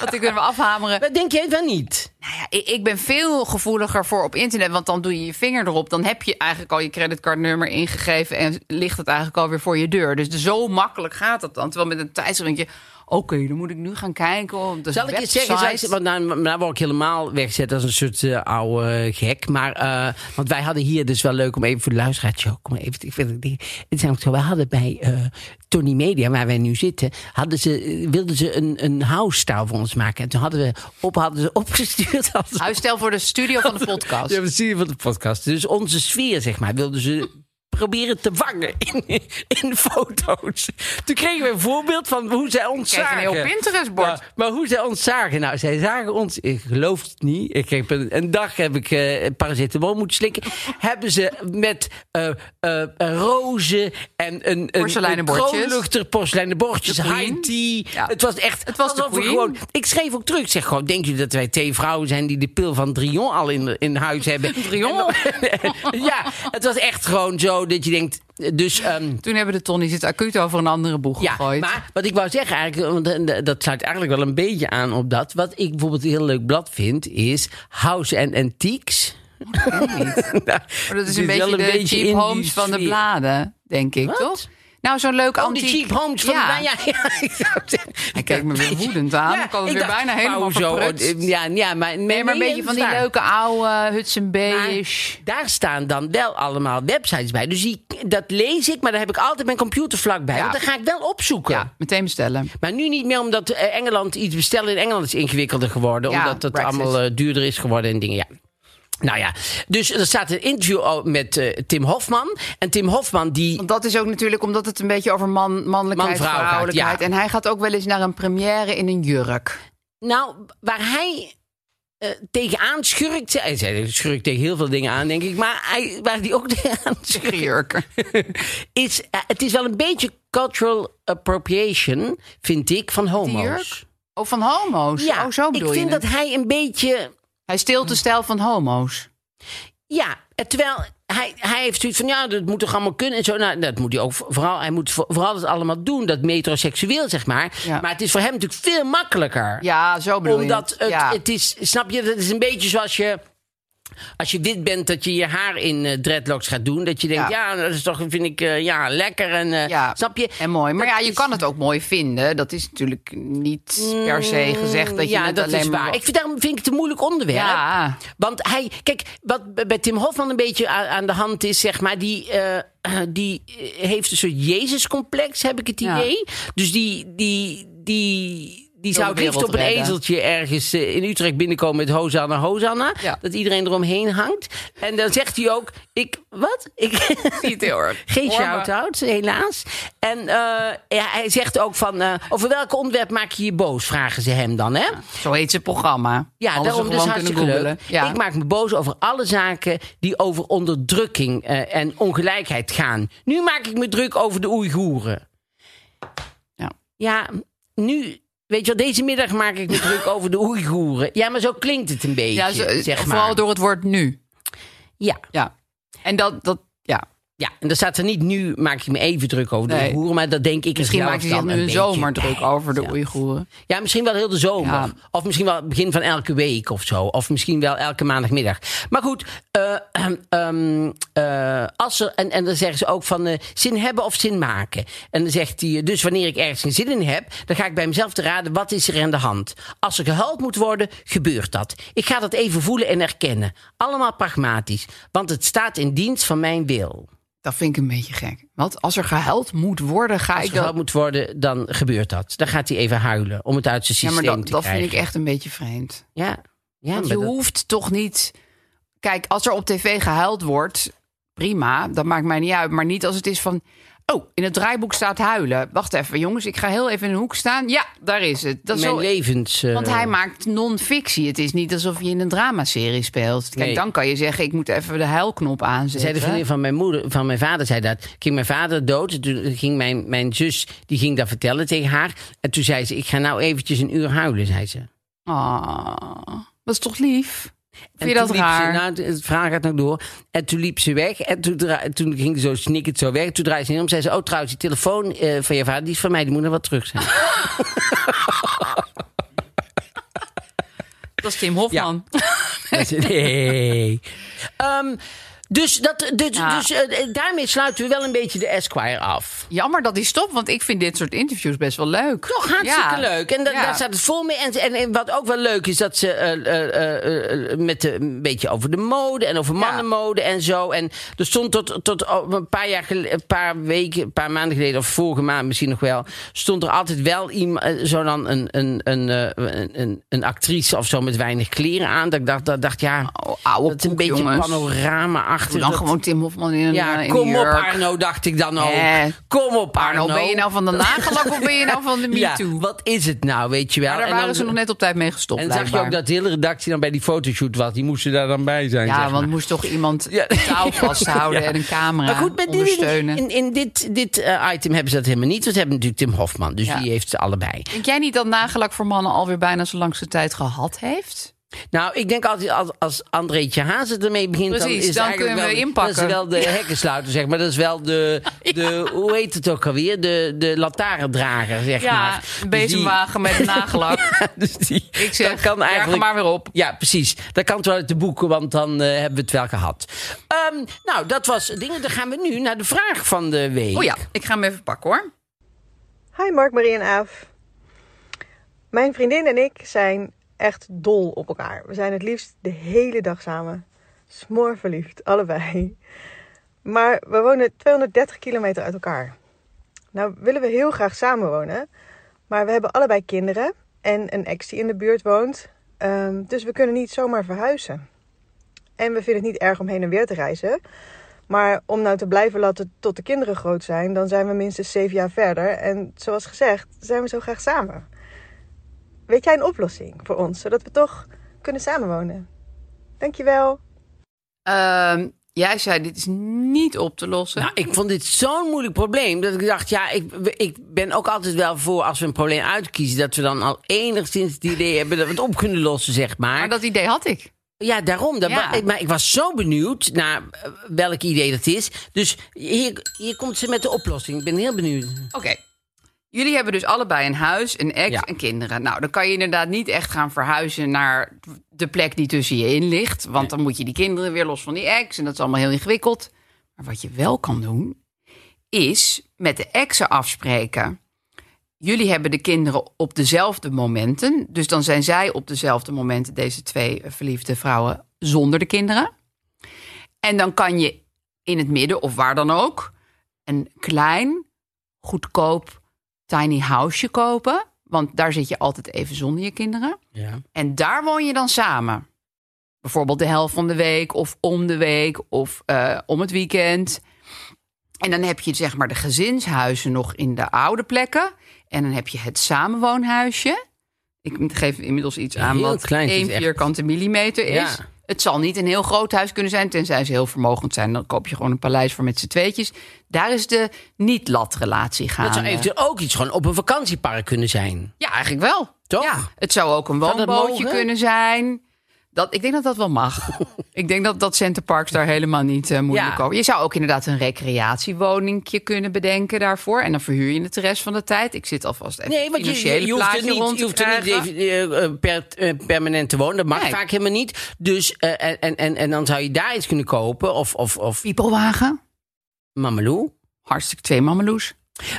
[SPEAKER 4] Wat ik kunnen we afhameren.
[SPEAKER 2] Dat denk jij wel niet.
[SPEAKER 4] Nou ja, ik, ik ben veel gevoeliger voor op internet. Want dan doe je je vinger erop. Dan heb je eigenlijk al je creditcardnummer ingegeven. En ligt het eigenlijk alweer voor je deur. Dus zo makkelijk gaat dat dan. Terwijl met een tijdschrift denk je... Oké, dan moet ik nu gaan kijken op de
[SPEAKER 2] Zal ik eens zeggen, zal ik,
[SPEAKER 4] website.
[SPEAKER 2] want nou, nou word ik helemaal weggezet als een soort eh, oude gek. Maar, eh, want wij hadden hier dus wel leuk om even voor de luisteraartje ook. om even, ik vind het, ding- het is namelijk zo, we hadden bij eh, Tony Media, waar wij nu zitten, hadden ze, eh, wilden ze een, een house style voor ons maken. En toen hadden we op, hadden ze opgestuurd. Als
[SPEAKER 4] Huisstel voor de studio van de podcast.
[SPEAKER 2] Ja, we zien van de podcast. Dus onze sfeer, zeg maar, wilden ze proberen te vangen in, in foto's. Toen kregen we een voorbeeld van hoe zij ons
[SPEAKER 4] Kijk, een
[SPEAKER 2] zagen.
[SPEAKER 4] heel Pinterest-bord.
[SPEAKER 2] Maar, maar hoe zij ons zagen. Nou, zij zagen ons, ik geloof het niet. Ik heb een, een dag heb ik eh paracetamol moeten slikken. hebben ze met eh eh, rozen en een, een,
[SPEAKER 4] Porseleinen
[SPEAKER 2] een
[SPEAKER 4] bordjes.
[SPEAKER 2] kroonluchter, porseleinen bordjes,
[SPEAKER 4] De queen.
[SPEAKER 2] high tea.
[SPEAKER 4] Ja.
[SPEAKER 2] Het was echt...
[SPEAKER 4] Het was de
[SPEAKER 2] alsof we
[SPEAKER 4] queen.
[SPEAKER 2] Gewoon, ik schreef ook terug. Ik zeg gewoon, denk je dat wij twee vrouwen zijn... die de pil van Drion al in, in huis hebben?
[SPEAKER 4] Drion?
[SPEAKER 2] ja, het was echt gewoon zo dat je denkt... Dus ehm,
[SPEAKER 4] Toen hebben de Tonnies het acuut over een andere boeg
[SPEAKER 2] ja,
[SPEAKER 4] gegooid.
[SPEAKER 2] maar wat ik wou zeggen eigenlijk... want eh, dat sluit eigenlijk wel een beetje aan op dat. Wat ik bijvoorbeeld een heel leuk blad vind... is House and Antiques. Nou,
[SPEAKER 4] Oh, dat is een beetje
[SPEAKER 2] wel
[SPEAKER 4] de
[SPEAKER 2] beetje
[SPEAKER 4] cheap
[SPEAKER 2] in die
[SPEAKER 4] homes van de
[SPEAKER 2] sfeer.
[SPEAKER 4] bladen, denk ik,
[SPEAKER 2] Wat?
[SPEAKER 4] toch? Nou, zo'n leuk
[SPEAKER 2] Oh, die
[SPEAKER 4] antiek...
[SPEAKER 2] cheap homes van ja.
[SPEAKER 4] Ja.
[SPEAKER 2] Ja, ja, ik zou zeggen.
[SPEAKER 4] Hij kijkt me weer woedend aan. Ik had het weer bijna
[SPEAKER 2] maar
[SPEAKER 4] helemaal
[SPEAKER 2] hoezo?
[SPEAKER 4] verprutst.
[SPEAKER 2] eh, Ja, ja, maar,
[SPEAKER 4] Nee, maar een beetje van die
[SPEAKER 2] daar.
[SPEAKER 4] leuke oude Hudson
[SPEAKER 2] Maar
[SPEAKER 4] Bay-ish.
[SPEAKER 2] Daar staan dan wel allemaal websites bij. Dus die, dat lees ik, maar daar heb ik altijd mijn computer vlakbij.
[SPEAKER 4] Ja.
[SPEAKER 2] Want dan ga ik wel opzoeken.
[SPEAKER 4] Ja, meteen bestellen.
[SPEAKER 2] Maar nu niet meer omdat eh, Engeland iets bestellen in Engeland is ingewikkelder geworden.
[SPEAKER 4] Ja,
[SPEAKER 2] omdat het
[SPEAKER 4] Brexit.
[SPEAKER 2] allemaal eh, duurder is geworden en dingen. Ja. Nou ja, dus er staat een interview al met eh, Tim Hofman. En Tim Hofman die...
[SPEAKER 4] Want dat is ook natuurlijk omdat het een beetje over man, mannelijkheid,
[SPEAKER 2] Man-vrouwelijkheid,
[SPEAKER 4] vrouwelijkheid...
[SPEAKER 2] ja.
[SPEAKER 4] En hij gaat ook wel eens naar een première in een jurk.
[SPEAKER 2] Nou, waar hij eh, tegenaan schurkt... Hij zei, schurkt tegen heel veel dingen aan, denk ik. Maar hij, waar hij ook tegenaan schurkt...
[SPEAKER 4] Jurken.
[SPEAKER 2] is, eh, het is wel een beetje cultural appropriation, vind ik, van homo's.
[SPEAKER 4] jurk? Oh, van homo's?
[SPEAKER 2] Ja,
[SPEAKER 4] oh, zo
[SPEAKER 2] ik
[SPEAKER 4] bedoel
[SPEAKER 2] vind
[SPEAKER 4] je
[SPEAKER 2] dat
[SPEAKER 4] het.
[SPEAKER 2] hij een beetje...
[SPEAKER 4] Hij steelt de stijl van homo's.
[SPEAKER 2] Ja, eh, terwijl hij, hij heeft zoiets van, ja, dat moet toch allemaal kunnen en zo. Nou, dat moet hij ook vo- vooral, hij moet vo- vooral dat allemaal doen, dat metroseksueel, zeg maar.
[SPEAKER 4] Ja.
[SPEAKER 2] Maar het is voor hem natuurlijk veel makkelijker.
[SPEAKER 4] Ja, zo bedoel
[SPEAKER 2] omdat
[SPEAKER 4] je
[SPEAKER 2] het,
[SPEAKER 4] ja.
[SPEAKER 2] het is, snap je, dat is een beetje zoals je... Als je wit bent, dat je je haar in eh, dreadlocks gaat doen. Dat je denkt, ja,
[SPEAKER 4] Ja.
[SPEAKER 2] dat is toch, vind ik, eh, ja, lekker. En, eh,
[SPEAKER 4] Ja,
[SPEAKER 2] Snap je?
[SPEAKER 4] En mooi. Maar
[SPEAKER 2] Dat
[SPEAKER 4] ja, je
[SPEAKER 2] is-
[SPEAKER 4] kan het ook mooi vinden. Dat is natuurlijk niet per se gezegd dat je
[SPEAKER 2] Mm, ja,
[SPEAKER 4] het
[SPEAKER 2] dat
[SPEAKER 4] alleen
[SPEAKER 2] is
[SPEAKER 4] maar...
[SPEAKER 2] waar. Ik vind, daarom vind ik het een moeilijk onderwerp.
[SPEAKER 4] Ja.
[SPEAKER 2] Want hij, kijk, wat b- bij Tim Hofman een beetje aan, aan de hand is, zeg maar, die, eh, die eh, heeft een soort Jezus-complex, heb ik het
[SPEAKER 4] Ja.
[SPEAKER 2] idee. Dus die, die, die, die zou het
[SPEAKER 4] wereld
[SPEAKER 2] liefst op een
[SPEAKER 4] redden.
[SPEAKER 2] ezeltje ergens eh, in Utrecht binnenkomen met Hosanna, Hosanna.
[SPEAKER 4] Ja.
[SPEAKER 2] Dat iedereen eromheen hangt. En dan zegt hij ook, ik, wat? Ik,
[SPEAKER 4] Niet heel erg.
[SPEAKER 2] geen
[SPEAKER 4] Hoor me.
[SPEAKER 2] shout-out, helaas. En eh, ja, hij zegt ook van, eh, over welk onderwerp maak je je boos, vragen ze hem dan, hè?
[SPEAKER 4] Zo heet zijn programma.
[SPEAKER 2] Ja,
[SPEAKER 4] Hadden ze
[SPEAKER 2] daarom dus
[SPEAKER 4] gewoon
[SPEAKER 2] hartstikke
[SPEAKER 4] kunnen
[SPEAKER 2] leuk.
[SPEAKER 4] googlen. Ja.
[SPEAKER 2] Ik maak me boos over alle zaken die over onderdrukking eh, en ongelijkheid gaan. Nu maak ik me druk over de Oeigoeren.
[SPEAKER 4] Ja.
[SPEAKER 2] Ja, nu... Weet je wel, deze middag maak ik me druk over de Oeigoeren. Ja, maar zo klinkt het een beetje,
[SPEAKER 4] Ja, zo- eh,
[SPEAKER 2] zeg maar.
[SPEAKER 4] vooral door het woord nu.
[SPEAKER 2] Ja,
[SPEAKER 4] Ja. En dat, dat ja.
[SPEAKER 2] ja, en dan staat er niet nu maak ik me even druk over de
[SPEAKER 4] Nee.
[SPEAKER 2] Oeigoeren... maar dat denk ik
[SPEAKER 4] Misschien
[SPEAKER 2] er zelf
[SPEAKER 4] maakt hij zich
[SPEAKER 2] dan
[SPEAKER 4] nu
[SPEAKER 2] een
[SPEAKER 4] een
[SPEAKER 2] beetje
[SPEAKER 4] zomer druk
[SPEAKER 2] bij.
[SPEAKER 4] over de
[SPEAKER 2] Ja.
[SPEAKER 4] Oeigoeren.
[SPEAKER 2] Ja, misschien wel heel de zomer.
[SPEAKER 4] Ja.
[SPEAKER 2] Of misschien wel het begin van elke week of zo. Of misschien wel elke maandagmiddag. Maar goed, eh, ehm, eh, als er, en, en dan zeggen ze ook van eh, zin hebben of zin maken. En dan zegt hij, eh, dus wanneer ik ergens geen zin in heb... dan ga ik bij mezelf te raden, wat is er aan de hand? Als er gehuild moet worden, gebeurt dat. Ik ga dat even voelen en erkennen. Allemaal pragmatisch, want het staat in dienst van mijn wil.
[SPEAKER 4] Dat vind ik een beetje gek. Want als er gehuild moet worden, ga
[SPEAKER 2] Als
[SPEAKER 4] ik
[SPEAKER 2] er gehuild
[SPEAKER 4] dat...
[SPEAKER 2] moet worden, dan gebeurt dat. Dan gaat hij even huilen om het uit zijn
[SPEAKER 4] Ja,
[SPEAKER 2] systeem
[SPEAKER 4] maar dat,
[SPEAKER 2] te
[SPEAKER 4] dat
[SPEAKER 2] krijgen.
[SPEAKER 4] vind ik echt een beetje vreemd.
[SPEAKER 2] Ja, ja
[SPEAKER 4] Want je
[SPEAKER 2] maar dat-
[SPEAKER 4] hoeft toch niet... Kijk, als er op tv gehuild wordt, prima, dat maakt mij niet uit. Maar niet als het is van... Oh, in het draaiboek staat huilen. Wacht even, jongens, ik ga heel even in een hoek staan. Ja, daar is het. Dat is
[SPEAKER 2] mijn
[SPEAKER 4] zo-
[SPEAKER 2] levens. eh,
[SPEAKER 4] Want hij maakt non-fictie. Het is niet alsof je in een dramaserie speelt. Kijk,
[SPEAKER 2] Nee.
[SPEAKER 4] dan kan je zeggen, ik moet even de huilknop
[SPEAKER 2] zei de
[SPEAKER 4] aanzetten.
[SPEAKER 2] vriendin van mijn moeder, van mijn vader, zei dat. Ging mijn vader dood. Toen ging mijn, mijn zus, die ging dat vertellen tegen haar. En toen zei ze: Ik ga nou eventjes een uur huilen, zei ze.
[SPEAKER 4] Ah, dat is toch lief?
[SPEAKER 2] En
[SPEAKER 4] Vind je dat
[SPEAKER 2] toen liep ze-
[SPEAKER 4] raar?
[SPEAKER 2] nou, het verhaal gaat nog door. En toen liep ze weg. En toen, dra- toen ging ze zo snikkend zo weg. Toen draaide ze niet om. Zei ze, oh trouwens, die telefoon eh, van je vader, die is van mij. Die moet nog wat terug zijn.
[SPEAKER 4] Dat is Tim Hofman.
[SPEAKER 2] Maar ze- nee. Ehm, dus dat, dus,
[SPEAKER 4] Ja.
[SPEAKER 2] dus eh, daarmee sluiten we wel een beetje de Esquire af.
[SPEAKER 4] Jammer dat die stopt, want ik vind dit soort interviews best wel leuk.
[SPEAKER 2] Toch hartstikke
[SPEAKER 4] Ja.
[SPEAKER 2] leuk. En da-
[SPEAKER 4] Ja.
[SPEAKER 2] daar staat het vol mee. En, en, en wat ook wel leuk is, dat ze eh, eh, eh, eh, met de, een beetje over de mode en over mannenmode en zo. En er stond tot, tot o- een paar jaar gel- een paar weken, een paar maanden geleden, of vorige maand misschien nog wel, stond er altijd wel iemand, eh, zo dan een, een, een, eh, een, een, een actrice of zo met weinig kleren aan. Dat ik dacht, dat dacht ja,
[SPEAKER 4] Oh, oude
[SPEAKER 2] dat is een
[SPEAKER 4] koek,
[SPEAKER 2] beetje
[SPEAKER 4] jongens.
[SPEAKER 2] panorama
[SPEAKER 4] Doe
[SPEAKER 2] achter.
[SPEAKER 4] dan gewoon Tim Hofman in een eh,
[SPEAKER 2] ja,
[SPEAKER 4] in een
[SPEAKER 2] kom op
[SPEAKER 4] jurk.
[SPEAKER 2] Arno, dacht ik dan ook.
[SPEAKER 4] Hè?
[SPEAKER 2] Kom op Arno.
[SPEAKER 4] Arno, ben je nou van de nagellak of ben je nou van de MeToo?
[SPEAKER 2] Ja, wat is het nou, weet je wel?
[SPEAKER 4] maar daar
[SPEAKER 2] En
[SPEAKER 4] waren
[SPEAKER 2] dan-
[SPEAKER 4] ze nog net op tijd mee gestopt,
[SPEAKER 2] en zag je
[SPEAKER 4] blijkbaar.
[SPEAKER 2] ook dat de hele redactie dan bij die fotoshoot was. Die moesten daar dan bij zijn.
[SPEAKER 4] Ja,
[SPEAKER 2] zeg
[SPEAKER 4] want
[SPEAKER 2] maar.
[SPEAKER 4] moest toch iemand
[SPEAKER 2] Ja.
[SPEAKER 4] de touw vasthouden
[SPEAKER 2] Ja.
[SPEAKER 4] en een camera
[SPEAKER 2] Maar goed, met dit,
[SPEAKER 4] ondersteunen.
[SPEAKER 2] in, in dit, dit eh, item hebben ze dat helemaal niet. Want ze hebben natuurlijk Tim Hofman. Dus
[SPEAKER 4] Ja.
[SPEAKER 2] die heeft ze allebei.
[SPEAKER 4] Denk jij niet dat nagelak voor mannen alweer bijna zo lang zijn tijd gehad heeft?
[SPEAKER 2] Nou, ik denk altijd als, als Andreetje Hazen ermee begint... dan,
[SPEAKER 4] Precies,
[SPEAKER 2] is het
[SPEAKER 4] dan
[SPEAKER 2] eigenlijk
[SPEAKER 4] kunnen we
[SPEAKER 2] wel,
[SPEAKER 4] inpakken.
[SPEAKER 2] Dat is wel de hekkensluiter, zeg maar. Dat is wel de, de hoe heet het ook alweer? De, de lantaarndrager, zeg maar.
[SPEAKER 4] Ja,
[SPEAKER 2] Dus
[SPEAKER 4] een
[SPEAKER 2] die-
[SPEAKER 4] bezemwagen met nagellak.
[SPEAKER 2] dus die,
[SPEAKER 4] Ik zeg,
[SPEAKER 2] dat
[SPEAKER 4] berg hem maar weer op.
[SPEAKER 2] Ja, precies. Dat kan het wel uit de boeken, want dan eh, hebben we het wel gehad. Ehm, nou, dat was het ding. Dan gaan we nu naar de vraag van de week.
[SPEAKER 4] Oh ja, ik ga hem even pakken hoor.
[SPEAKER 5] Hi Mark, Marie en Aaf. Mijn vriendin en ik zijn echt dol op elkaar. We zijn het liefst de hele dag samen. Smoor verliefd, allebei. Maar we wonen 230 kilometer uit elkaar. Nou willen we heel graag samen wonen. Maar we hebben allebei kinderen en een ex die in de buurt woont. Ehm, dus we kunnen niet zomaar verhuizen. En we vinden het niet erg om heen en weer te reizen. Maar om nou te blijven laten tot de kinderen groot zijn, dan zijn we minstens zeven jaar verder. En zoals gezegd, zijn we zo graag samen. Weet jij een oplossing voor ons, zodat we toch kunnen samenwonen? Dankjewel.
[SPEAKER 4] Ehm, jij zei, dit is niet op te lossen.
[SPEAKER 2] Nou, ik vond dit zo'n moeilijk probleem dat ik dacht, ja, ik, ik ben ook altijd wel voor als we een probleem uitkiezen, dat we dan al enigszins het idee hebben dat we het op kunnen lossen, zeg maar.
[SPEAKER 4] maar dat idee had ik.
[SPEAKER 2] Ja, daarom. Dat
[SPEAKER 4] Ja.
[SPEAKER 2] wa- maar ik was zo benieuwd naar eh, welk idee dat is. Dus hier, hier komt ze met de oplossing. Ik ben heel benieuwd.
[SPEAKER 4] Oké. Jullie hebben dus allebei een huis, een ex
[SPEAKER 2] Ja.
[SPEAKER 4] en kinderen. Nou, dan kan je inderdaad niet echt gaan verhuizen naar de plek die tussen je in ligt. Want dan moet je die kinderen weer los van die ex. En dat is allemaal heel ingewikkeld. Maar wat je wel kan doen, is met de exen afspreken. Jullie hebben de kinderen op dezelfde momenten. Dus dan zijn zij op dezelfde momenten, deze twee eh, verliefde vrouwen, zonder de kinderen. En dan kan je in het midden of waar dan ook een klein goedkoop tiny houseje kopen. Want daar zit je altijd even zonder je kinderen.
[SPEAKER 2] Ja.
[SPEAKER 4] En daar woon je dan samen. Bijvoorbeeld de helft van de week of om de week of eh, om het weekend. En dan heb je zeg maar de gezinshuizen nog in de oude plekken. En dan heb je het samenwoonhuisje. Ik geef inmiddels iets aan
[SPEAKER 2] Heel
[SPEAKER 4] wat
[SPEAKER 2] klein, het is
[SPEAKER 4] één
[SPEAKER 2] echt-
[SPEAKER 4] vierkante millimeter is.
[SPEAKER 2] Ja.
[SPEAKER 4] Het zal niet een heel groot huis kunnen zijn, tenzij ze heel vermogend zijn. Dan koop je gewoon een paleis voor met z'n tweetjes. Daar is de niet-lat-relatie gaande.
[SPEAKER 2] Dat zou eventueel ook iets gewoon op een vakantiepark kunnen zijn.
[SPEAKER 4] Ja, eigenlijk wel.
[SPEAKER 2] Toch?
[SPEAKER 4] Ja, het zou ook een
[SPEAKER 2] Zou dat
[SPEAKER 4] woonbootje
[SPEAKER 2] mogen?
[SPEAKER 4] kunnen zijn. Dat, ik denk dat dat wel mag. ik denk dat, dat Center Parks daar helemaal niet eh, moeilijk
[SPEAKER 2] Ja.
[SPEAKER 4] over... Je zou ook inderdaad een recreatiewoningje kunnen bedenken daarvoor. En dan verhuur je het de rest van de tijd. Ik zit alvast even
[SPEAKER 2] Nee, want je- je,
[SPEAKER 4] financiële
[SPEAKER 2] je hoeft er
[SPEAKER 4] plaatje rond
[SPEAKER 2] niet,
[SPEAKER 4] te
[SPEAKER 2] je hoeft er niet
[SPEAKER 4] krijgen.
[SPEAKER 2] even, eh, eh, per, eh, permanent te wonen. Dat mag
[SPEAKER 4] Nee.
[SPEAKER 2] vaak helemaal niet. Dus, eh, en- en, en, en dan zou je daar iets kunnen kopen. Of, of, of
[SPEAKER 4] Piepelwagen.
[SPEAKER 2] mameloe.
[SPEAKER 4] Hartstikke twee mammeloes.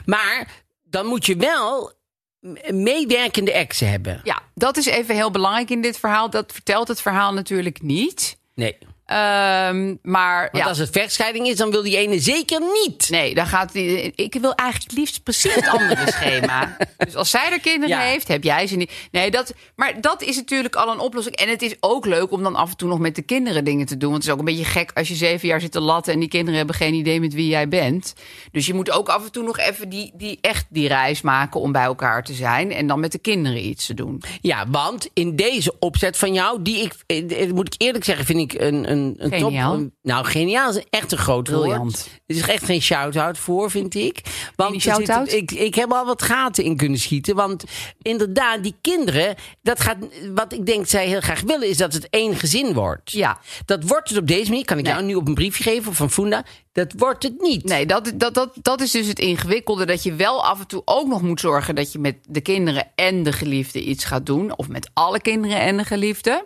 [SPEAKER 2] Maar dan moet je wel m- meewerkende exen hebben.
[SPEAKER 4] Ja, dat is even heel belangrijk in dit verhaal. Dat vertelt het verhaal natuurlijk niet.
[SPEAKER 2] Nee. Want
[SPEAKER 4] Ehm, maar ja.
[SPEAKER 2] als het vechtscheiding is, dan wil die ene zeker niet.
[SPEAKER 4] Nee, dan gaat die. Ik wil eigenlijk het liefst precies het andere schema. Dus als zij er kinderen
[SPEAKER 2] Ja.
[SPEAKER 4] heeft, heb jij ze niet. Nee, dat, maar dat is natuurlijk al een oplossing. En het is ook leuk om dan af en toe nog met de kinderen dingen te doen. Want het is ook een beetje gek als je zeven jaar zit te latten en die kinderen hebben geen idee met wie jij bent. Dus je moet ook af en toe nog even die, die echt die reis maken om bij elkaar te zijn. En dan met de kinderen iets te doen.
[SPEAKER 2] Ja, want in deze opzet van jou, die ik, eh, eh, moet ik eerlijk zeggen, vind ik een, een, een top.
[SPEAKER 4] Geniaal.
[SPEAKER 2] een- nou, geniaal is echt een groot
[SPEAKER 4] Briljant.
[SPEAKER 2] woord. Er is echt geen shout-out voor, vind ik. Want
[SPEAKER 4] Mini
[SPEAKER 2] er zitten-
[SPEAKER 4] shout-out?
[SPEAKER 2] ik, ik heb al wat gaten in kunnen schieten. Want inderdaad, die kinderen, dat gaat, wat ik denk zij heel graag willen, is dat het één gezin wordt.
[SPEAKER 4] Ja.
[SPEAKER 2] Dat wordt het op deze manier, kan ik
[SPEAKER 4] Nee.
[SPEAKER 2] jou nu op een briefje geven van Funda, dat wordt het niet.
[SPEAKER 4] Nee, dat, dat, dat, dat is dus het ingewikkelde. Dat je wel af en toe ook nog moet zorgen dat je met de kinderen en de geliefde iets gaat doen. Of met alle kinderen en de geliefde.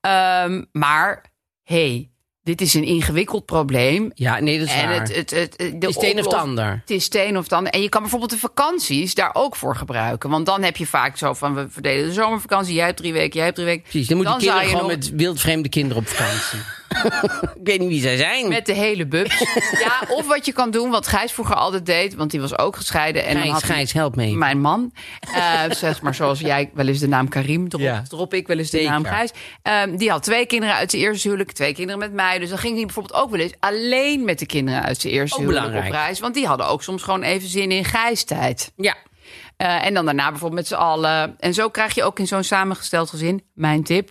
[SPEAKER 4] Ehm, maar hey, dit is een ingewikkeld probleem.
[SPEAKER 2] Ja, nee, dat is
[SPEAKER 4] En
[SPEAKER 2] waar.
[SPEAKER 4] het, eh, het, het, het, de
[SPEAKER 2] is het een of het
[SPEAKER 4] oplos-
[SPEAKER 2] ander.
[SPEAKER 4] Het is het een of het ander. En je kan bijvoorbeeld de vakanties daar ook voor gebruiken. Want dan heb je vaak zo van, we verdelen de zomervakantie. Jij hebt drie weken, jij hebt drie weken.
[SPEAKER 2] Precies, dan moeten
[SPEAKER 4] zou
[SPEAKER 2] kinderen
[SPEAKER 4] je
[SPEAKER 2] gewoon
[SPEAKER 4] nog-
[SPEAKER 2] met wildvreemde kinderen op vakantie. ik weet niet wie zij zijn.
[SPEAKER 4] Met de hele bubs. ja, of wat je kan doen, wat Gijs vroeger altijd deed, want die was ook gescheiden. En dan
[SPEAKER 2] Gijs,
[SPEAKER 4] had hij-
[SPEAKER 2] Gijs, help me.
[SPEAKER 4] Mijn man. Eh, zeg maar zoals jij wel eens de naam Karim drop,
[SPEAKER 2] Ja.
[SPEAKER 4] drop ik wel eens de
[SPEAKER 2] Zeker.
[SPEAKER 4] naam Gijs. Ehm, die had twee kinderen uit zijn eerste huwelijk, twee kinderen met mij. Dus dan ging hij bijvoorbeeld ook wel eens alleen met de kinderen uit zijn eerste
[SPEAKER 2] Ook
[SPEAKER 4] huwelijk op
[SPEAKER 2] belangrijk.
[SPEAKER 4] reis. Want die hadden ook soms gewoon even zin in Gijs-tijd.
[SPEAKER 2] Ja.
[SPEAKER 4] Eh, en dan daarna bijvoorbeeld met z'n allen. En zo krijg je ook in zo'n samengesteld gezin, mijn tip,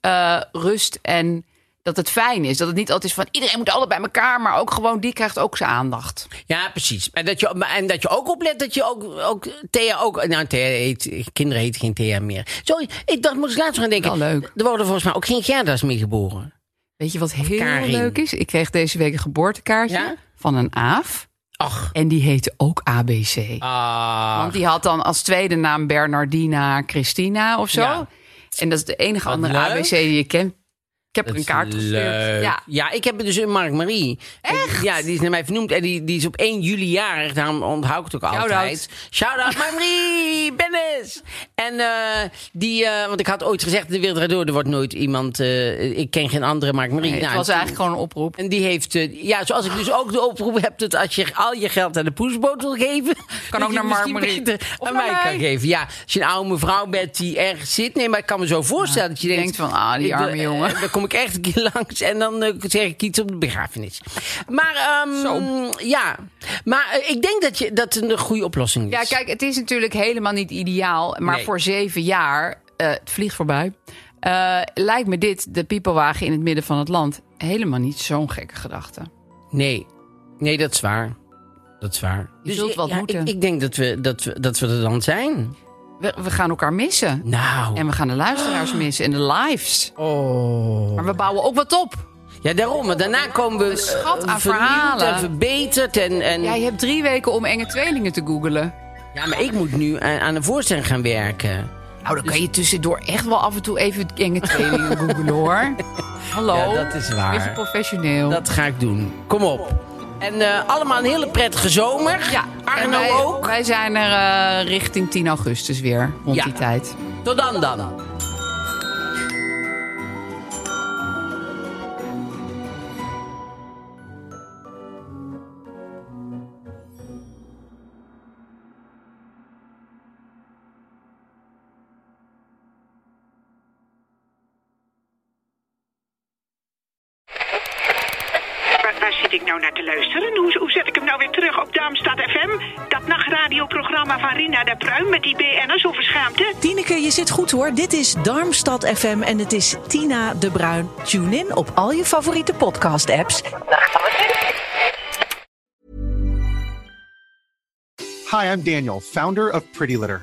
[SPEAKER 4] eh, rust en dat het fijn is. Dat het niet altijd is van iedereen moet altijd bij elkaar, maar ook gewoon die krijgt ook zijn aandacht.
[SPEAKER 2] Ja, precies. En dat je, maar- en dat je ook oplet dat je ook, ook Thea ook... Nou, Thea heet, kinderen heet geen Thea meer. Sorry, ik dacht, moest ik laatst gaan denken.
[SPEAKER 4] Wel Nou, leuk.
[SPEAKER 2] Er worden volgens mij ook geen Gerda's meer geboren.
[SPEAKER 4] Weet je wat heel
[SPEAKER 2] Karin.
[SPEAKER 4] leuk is? Ik kreeg deze week een geboortekaartje
[SPEAKER 2] Ja?
[SPEAKER 4] van een aaf.
[SPEAKER 2] Ach.
[SPEAKER 4] En die heette ook ABC.
[SPEAKER 2] Ah.
[SPEAKER 4] Want die had dan als tweede naam Bernardina Christina of zo.
[SPEAKER 2] Ja.
[SPEAKER 4] En dat is de enige
[SPEAKER 2] Wat
[SPEAKER 4] andere
[SPEAKER 2] leuk.
[SPEAKER 4] ABC die ik ken. Ik heb
[SPEAKER 2] dat
[SPEAKER 4] er een
[SPEAKER 2] is
[SPEAKER 4] kaart gestuurd.
[SPEAKER 2] leuk.
[SPEAKER 4] Ja.
[SPEAKER 2] Ja. ik heb er dus een Mark Marie. Echt? Ja, die is naar mij vernoemd. En die, die is op 1 juli jarig. Daarom onthoud ik het ook
[SPEAKER 4] Shout-out.
[SPEAKER 2] altijd. Shout-out Mark Marie! Bennis! En eh, die... eh, want ik had ooit gezegd, de wereld draait door. Er wordt nooit iemand... eh, ik ken geen andere Mark Marie.
[SPEAKER 4] Nee, het
[SPEAKER 2] Nou,
[SPEAKER 4] was
[SPEAKER 2] toen-
[SPEAKER 4] eigenlijk gewoon een oproep.
[SPEAKER 2] En die heeft, eh, ja, zoals ik dus ook de oproep heb, dat als je al je geld aan de poesboot wil geven.
[SPEAKER 4] Kan
[SPEAKER 2] dat
[SPEAKER 4] ook
[SPEAKER 2] je
[SPEAKER 4] naar
[SPEAKER 2] misschien
[SPEAKER 4] Marmarie.
[SPEAKER 2] beter
[SPEAKER 4] Of
[SPEAKER 2] Aan
[SPEAKER 4] naar
[SPEAKER 2] mij
[SPEAKER 4] mij.
[SPEAKER 2] kan geven. Ja, als je een oude mevrouw bent die ergens zit. Nee, maar ik kan me zo voorstellen dat je denkt.
[SPEAKER 4] denkt van, ah, die
[SPEAKER 2] ik wil-
[SPEAKER 4] arme jongen.
[SPEAKER 2] eh, dan kom ik echt een keer langs en dan eh, zeg ik iets op de begrafenis. Maar, ehm,
[SPEAKER 4] Zo.
[SPEAKER 2] ja. Maar eh, ik denk dat je, dat een goede oplossing is.
[SPEAKER 4] Ja, kijk, het is natuurlijk helemaal niet ideaal. Maar
[SPEAKER 2] Nee.
[SPEAKER 4] voor zeven jaar, eh, het vliegt voorbij. eh, lijkt me dit, de piepelwagen in het midden van het land, helemaal niet zo'n gekke gedachte.
[SPEAKER 2] Nee. Nee, dat is waar. Dat is waar.
[SPEAKER 4] Je zult
[SPEAKER 2] ik-
[SPEAKER 4] wat
[SPEAKER 2] ja,
[SPEAKER 4] moeten.
[SPEAKER 2] Ik, ik denk dat we, dat, we, dat we er dan zijn.
[SPEAKER 4] We, we gaan elkaar missen.
[SPEAKER 2] Nou.
[SPEAKER 4] En we gaan de luisteraars missen en de lives.
[SPEAKER 2] oh.
[SPEAKER 4] Maar we bouwen ook wat op.
[SPEAKER 2] Ja, daarom. Maar daarna komen we
[SPEAKER 4] schat
[SPEAKER 2] eh,
[SPEAKER 4] aan
[SPEAKER 2] vernieuwd
[SPEAKER 4] verhalen.
[SPEAKER 2] en verbeterd. En, en... Ja,
[SPEAKER 4] Jij hebt drie weken om enge tweelingen te googelen.
[SPEAKER 2] maar ik moet nu aan, aan een voorstelling gaan werken.
[SPEAKER 4] Nou, dan kan je tussendoor echt wel af en toe even enge tweelingen googelen hoor. Hallo.
[SPEAKER 2] Ja, dat is waar.
[SPEAKER 4] Beetje professioneel.
[SPEAKER 2] Dat ga ik doen. Kom op. En eh, allemaal een hele prettige zomer.
[SPEAKER 4] Ja, en
[SPEAKER 2] Arno
[SPEAKER 4] wij,
[SPEAKER 2] ook.
[SPEAKER 4] Wij zijn er eh, richting 10 augustus weer, rond
[SPEAKER 2] Ja.
[SPEAKER 4] die tijd.
[SPEAKER 2] Tot dan dan.
[SPEAKER 6] Waar, waar zit ik nou naar te luisteren? Hoe, hoe zet ik hem nou weer terug op Darmstad FM? Dat nachtradioprogramma van Rina de Pruim met die BN'ers over schaamte?
[SPEAKER 7] Tineke, je zit goed hoor. Dit is Darmstad FM en het is Tina de Bruin. Tune in op al je favoriete podcast-apps
[SPEAKER 8] Hi, I'm Daniel, founder of Pretty Litter.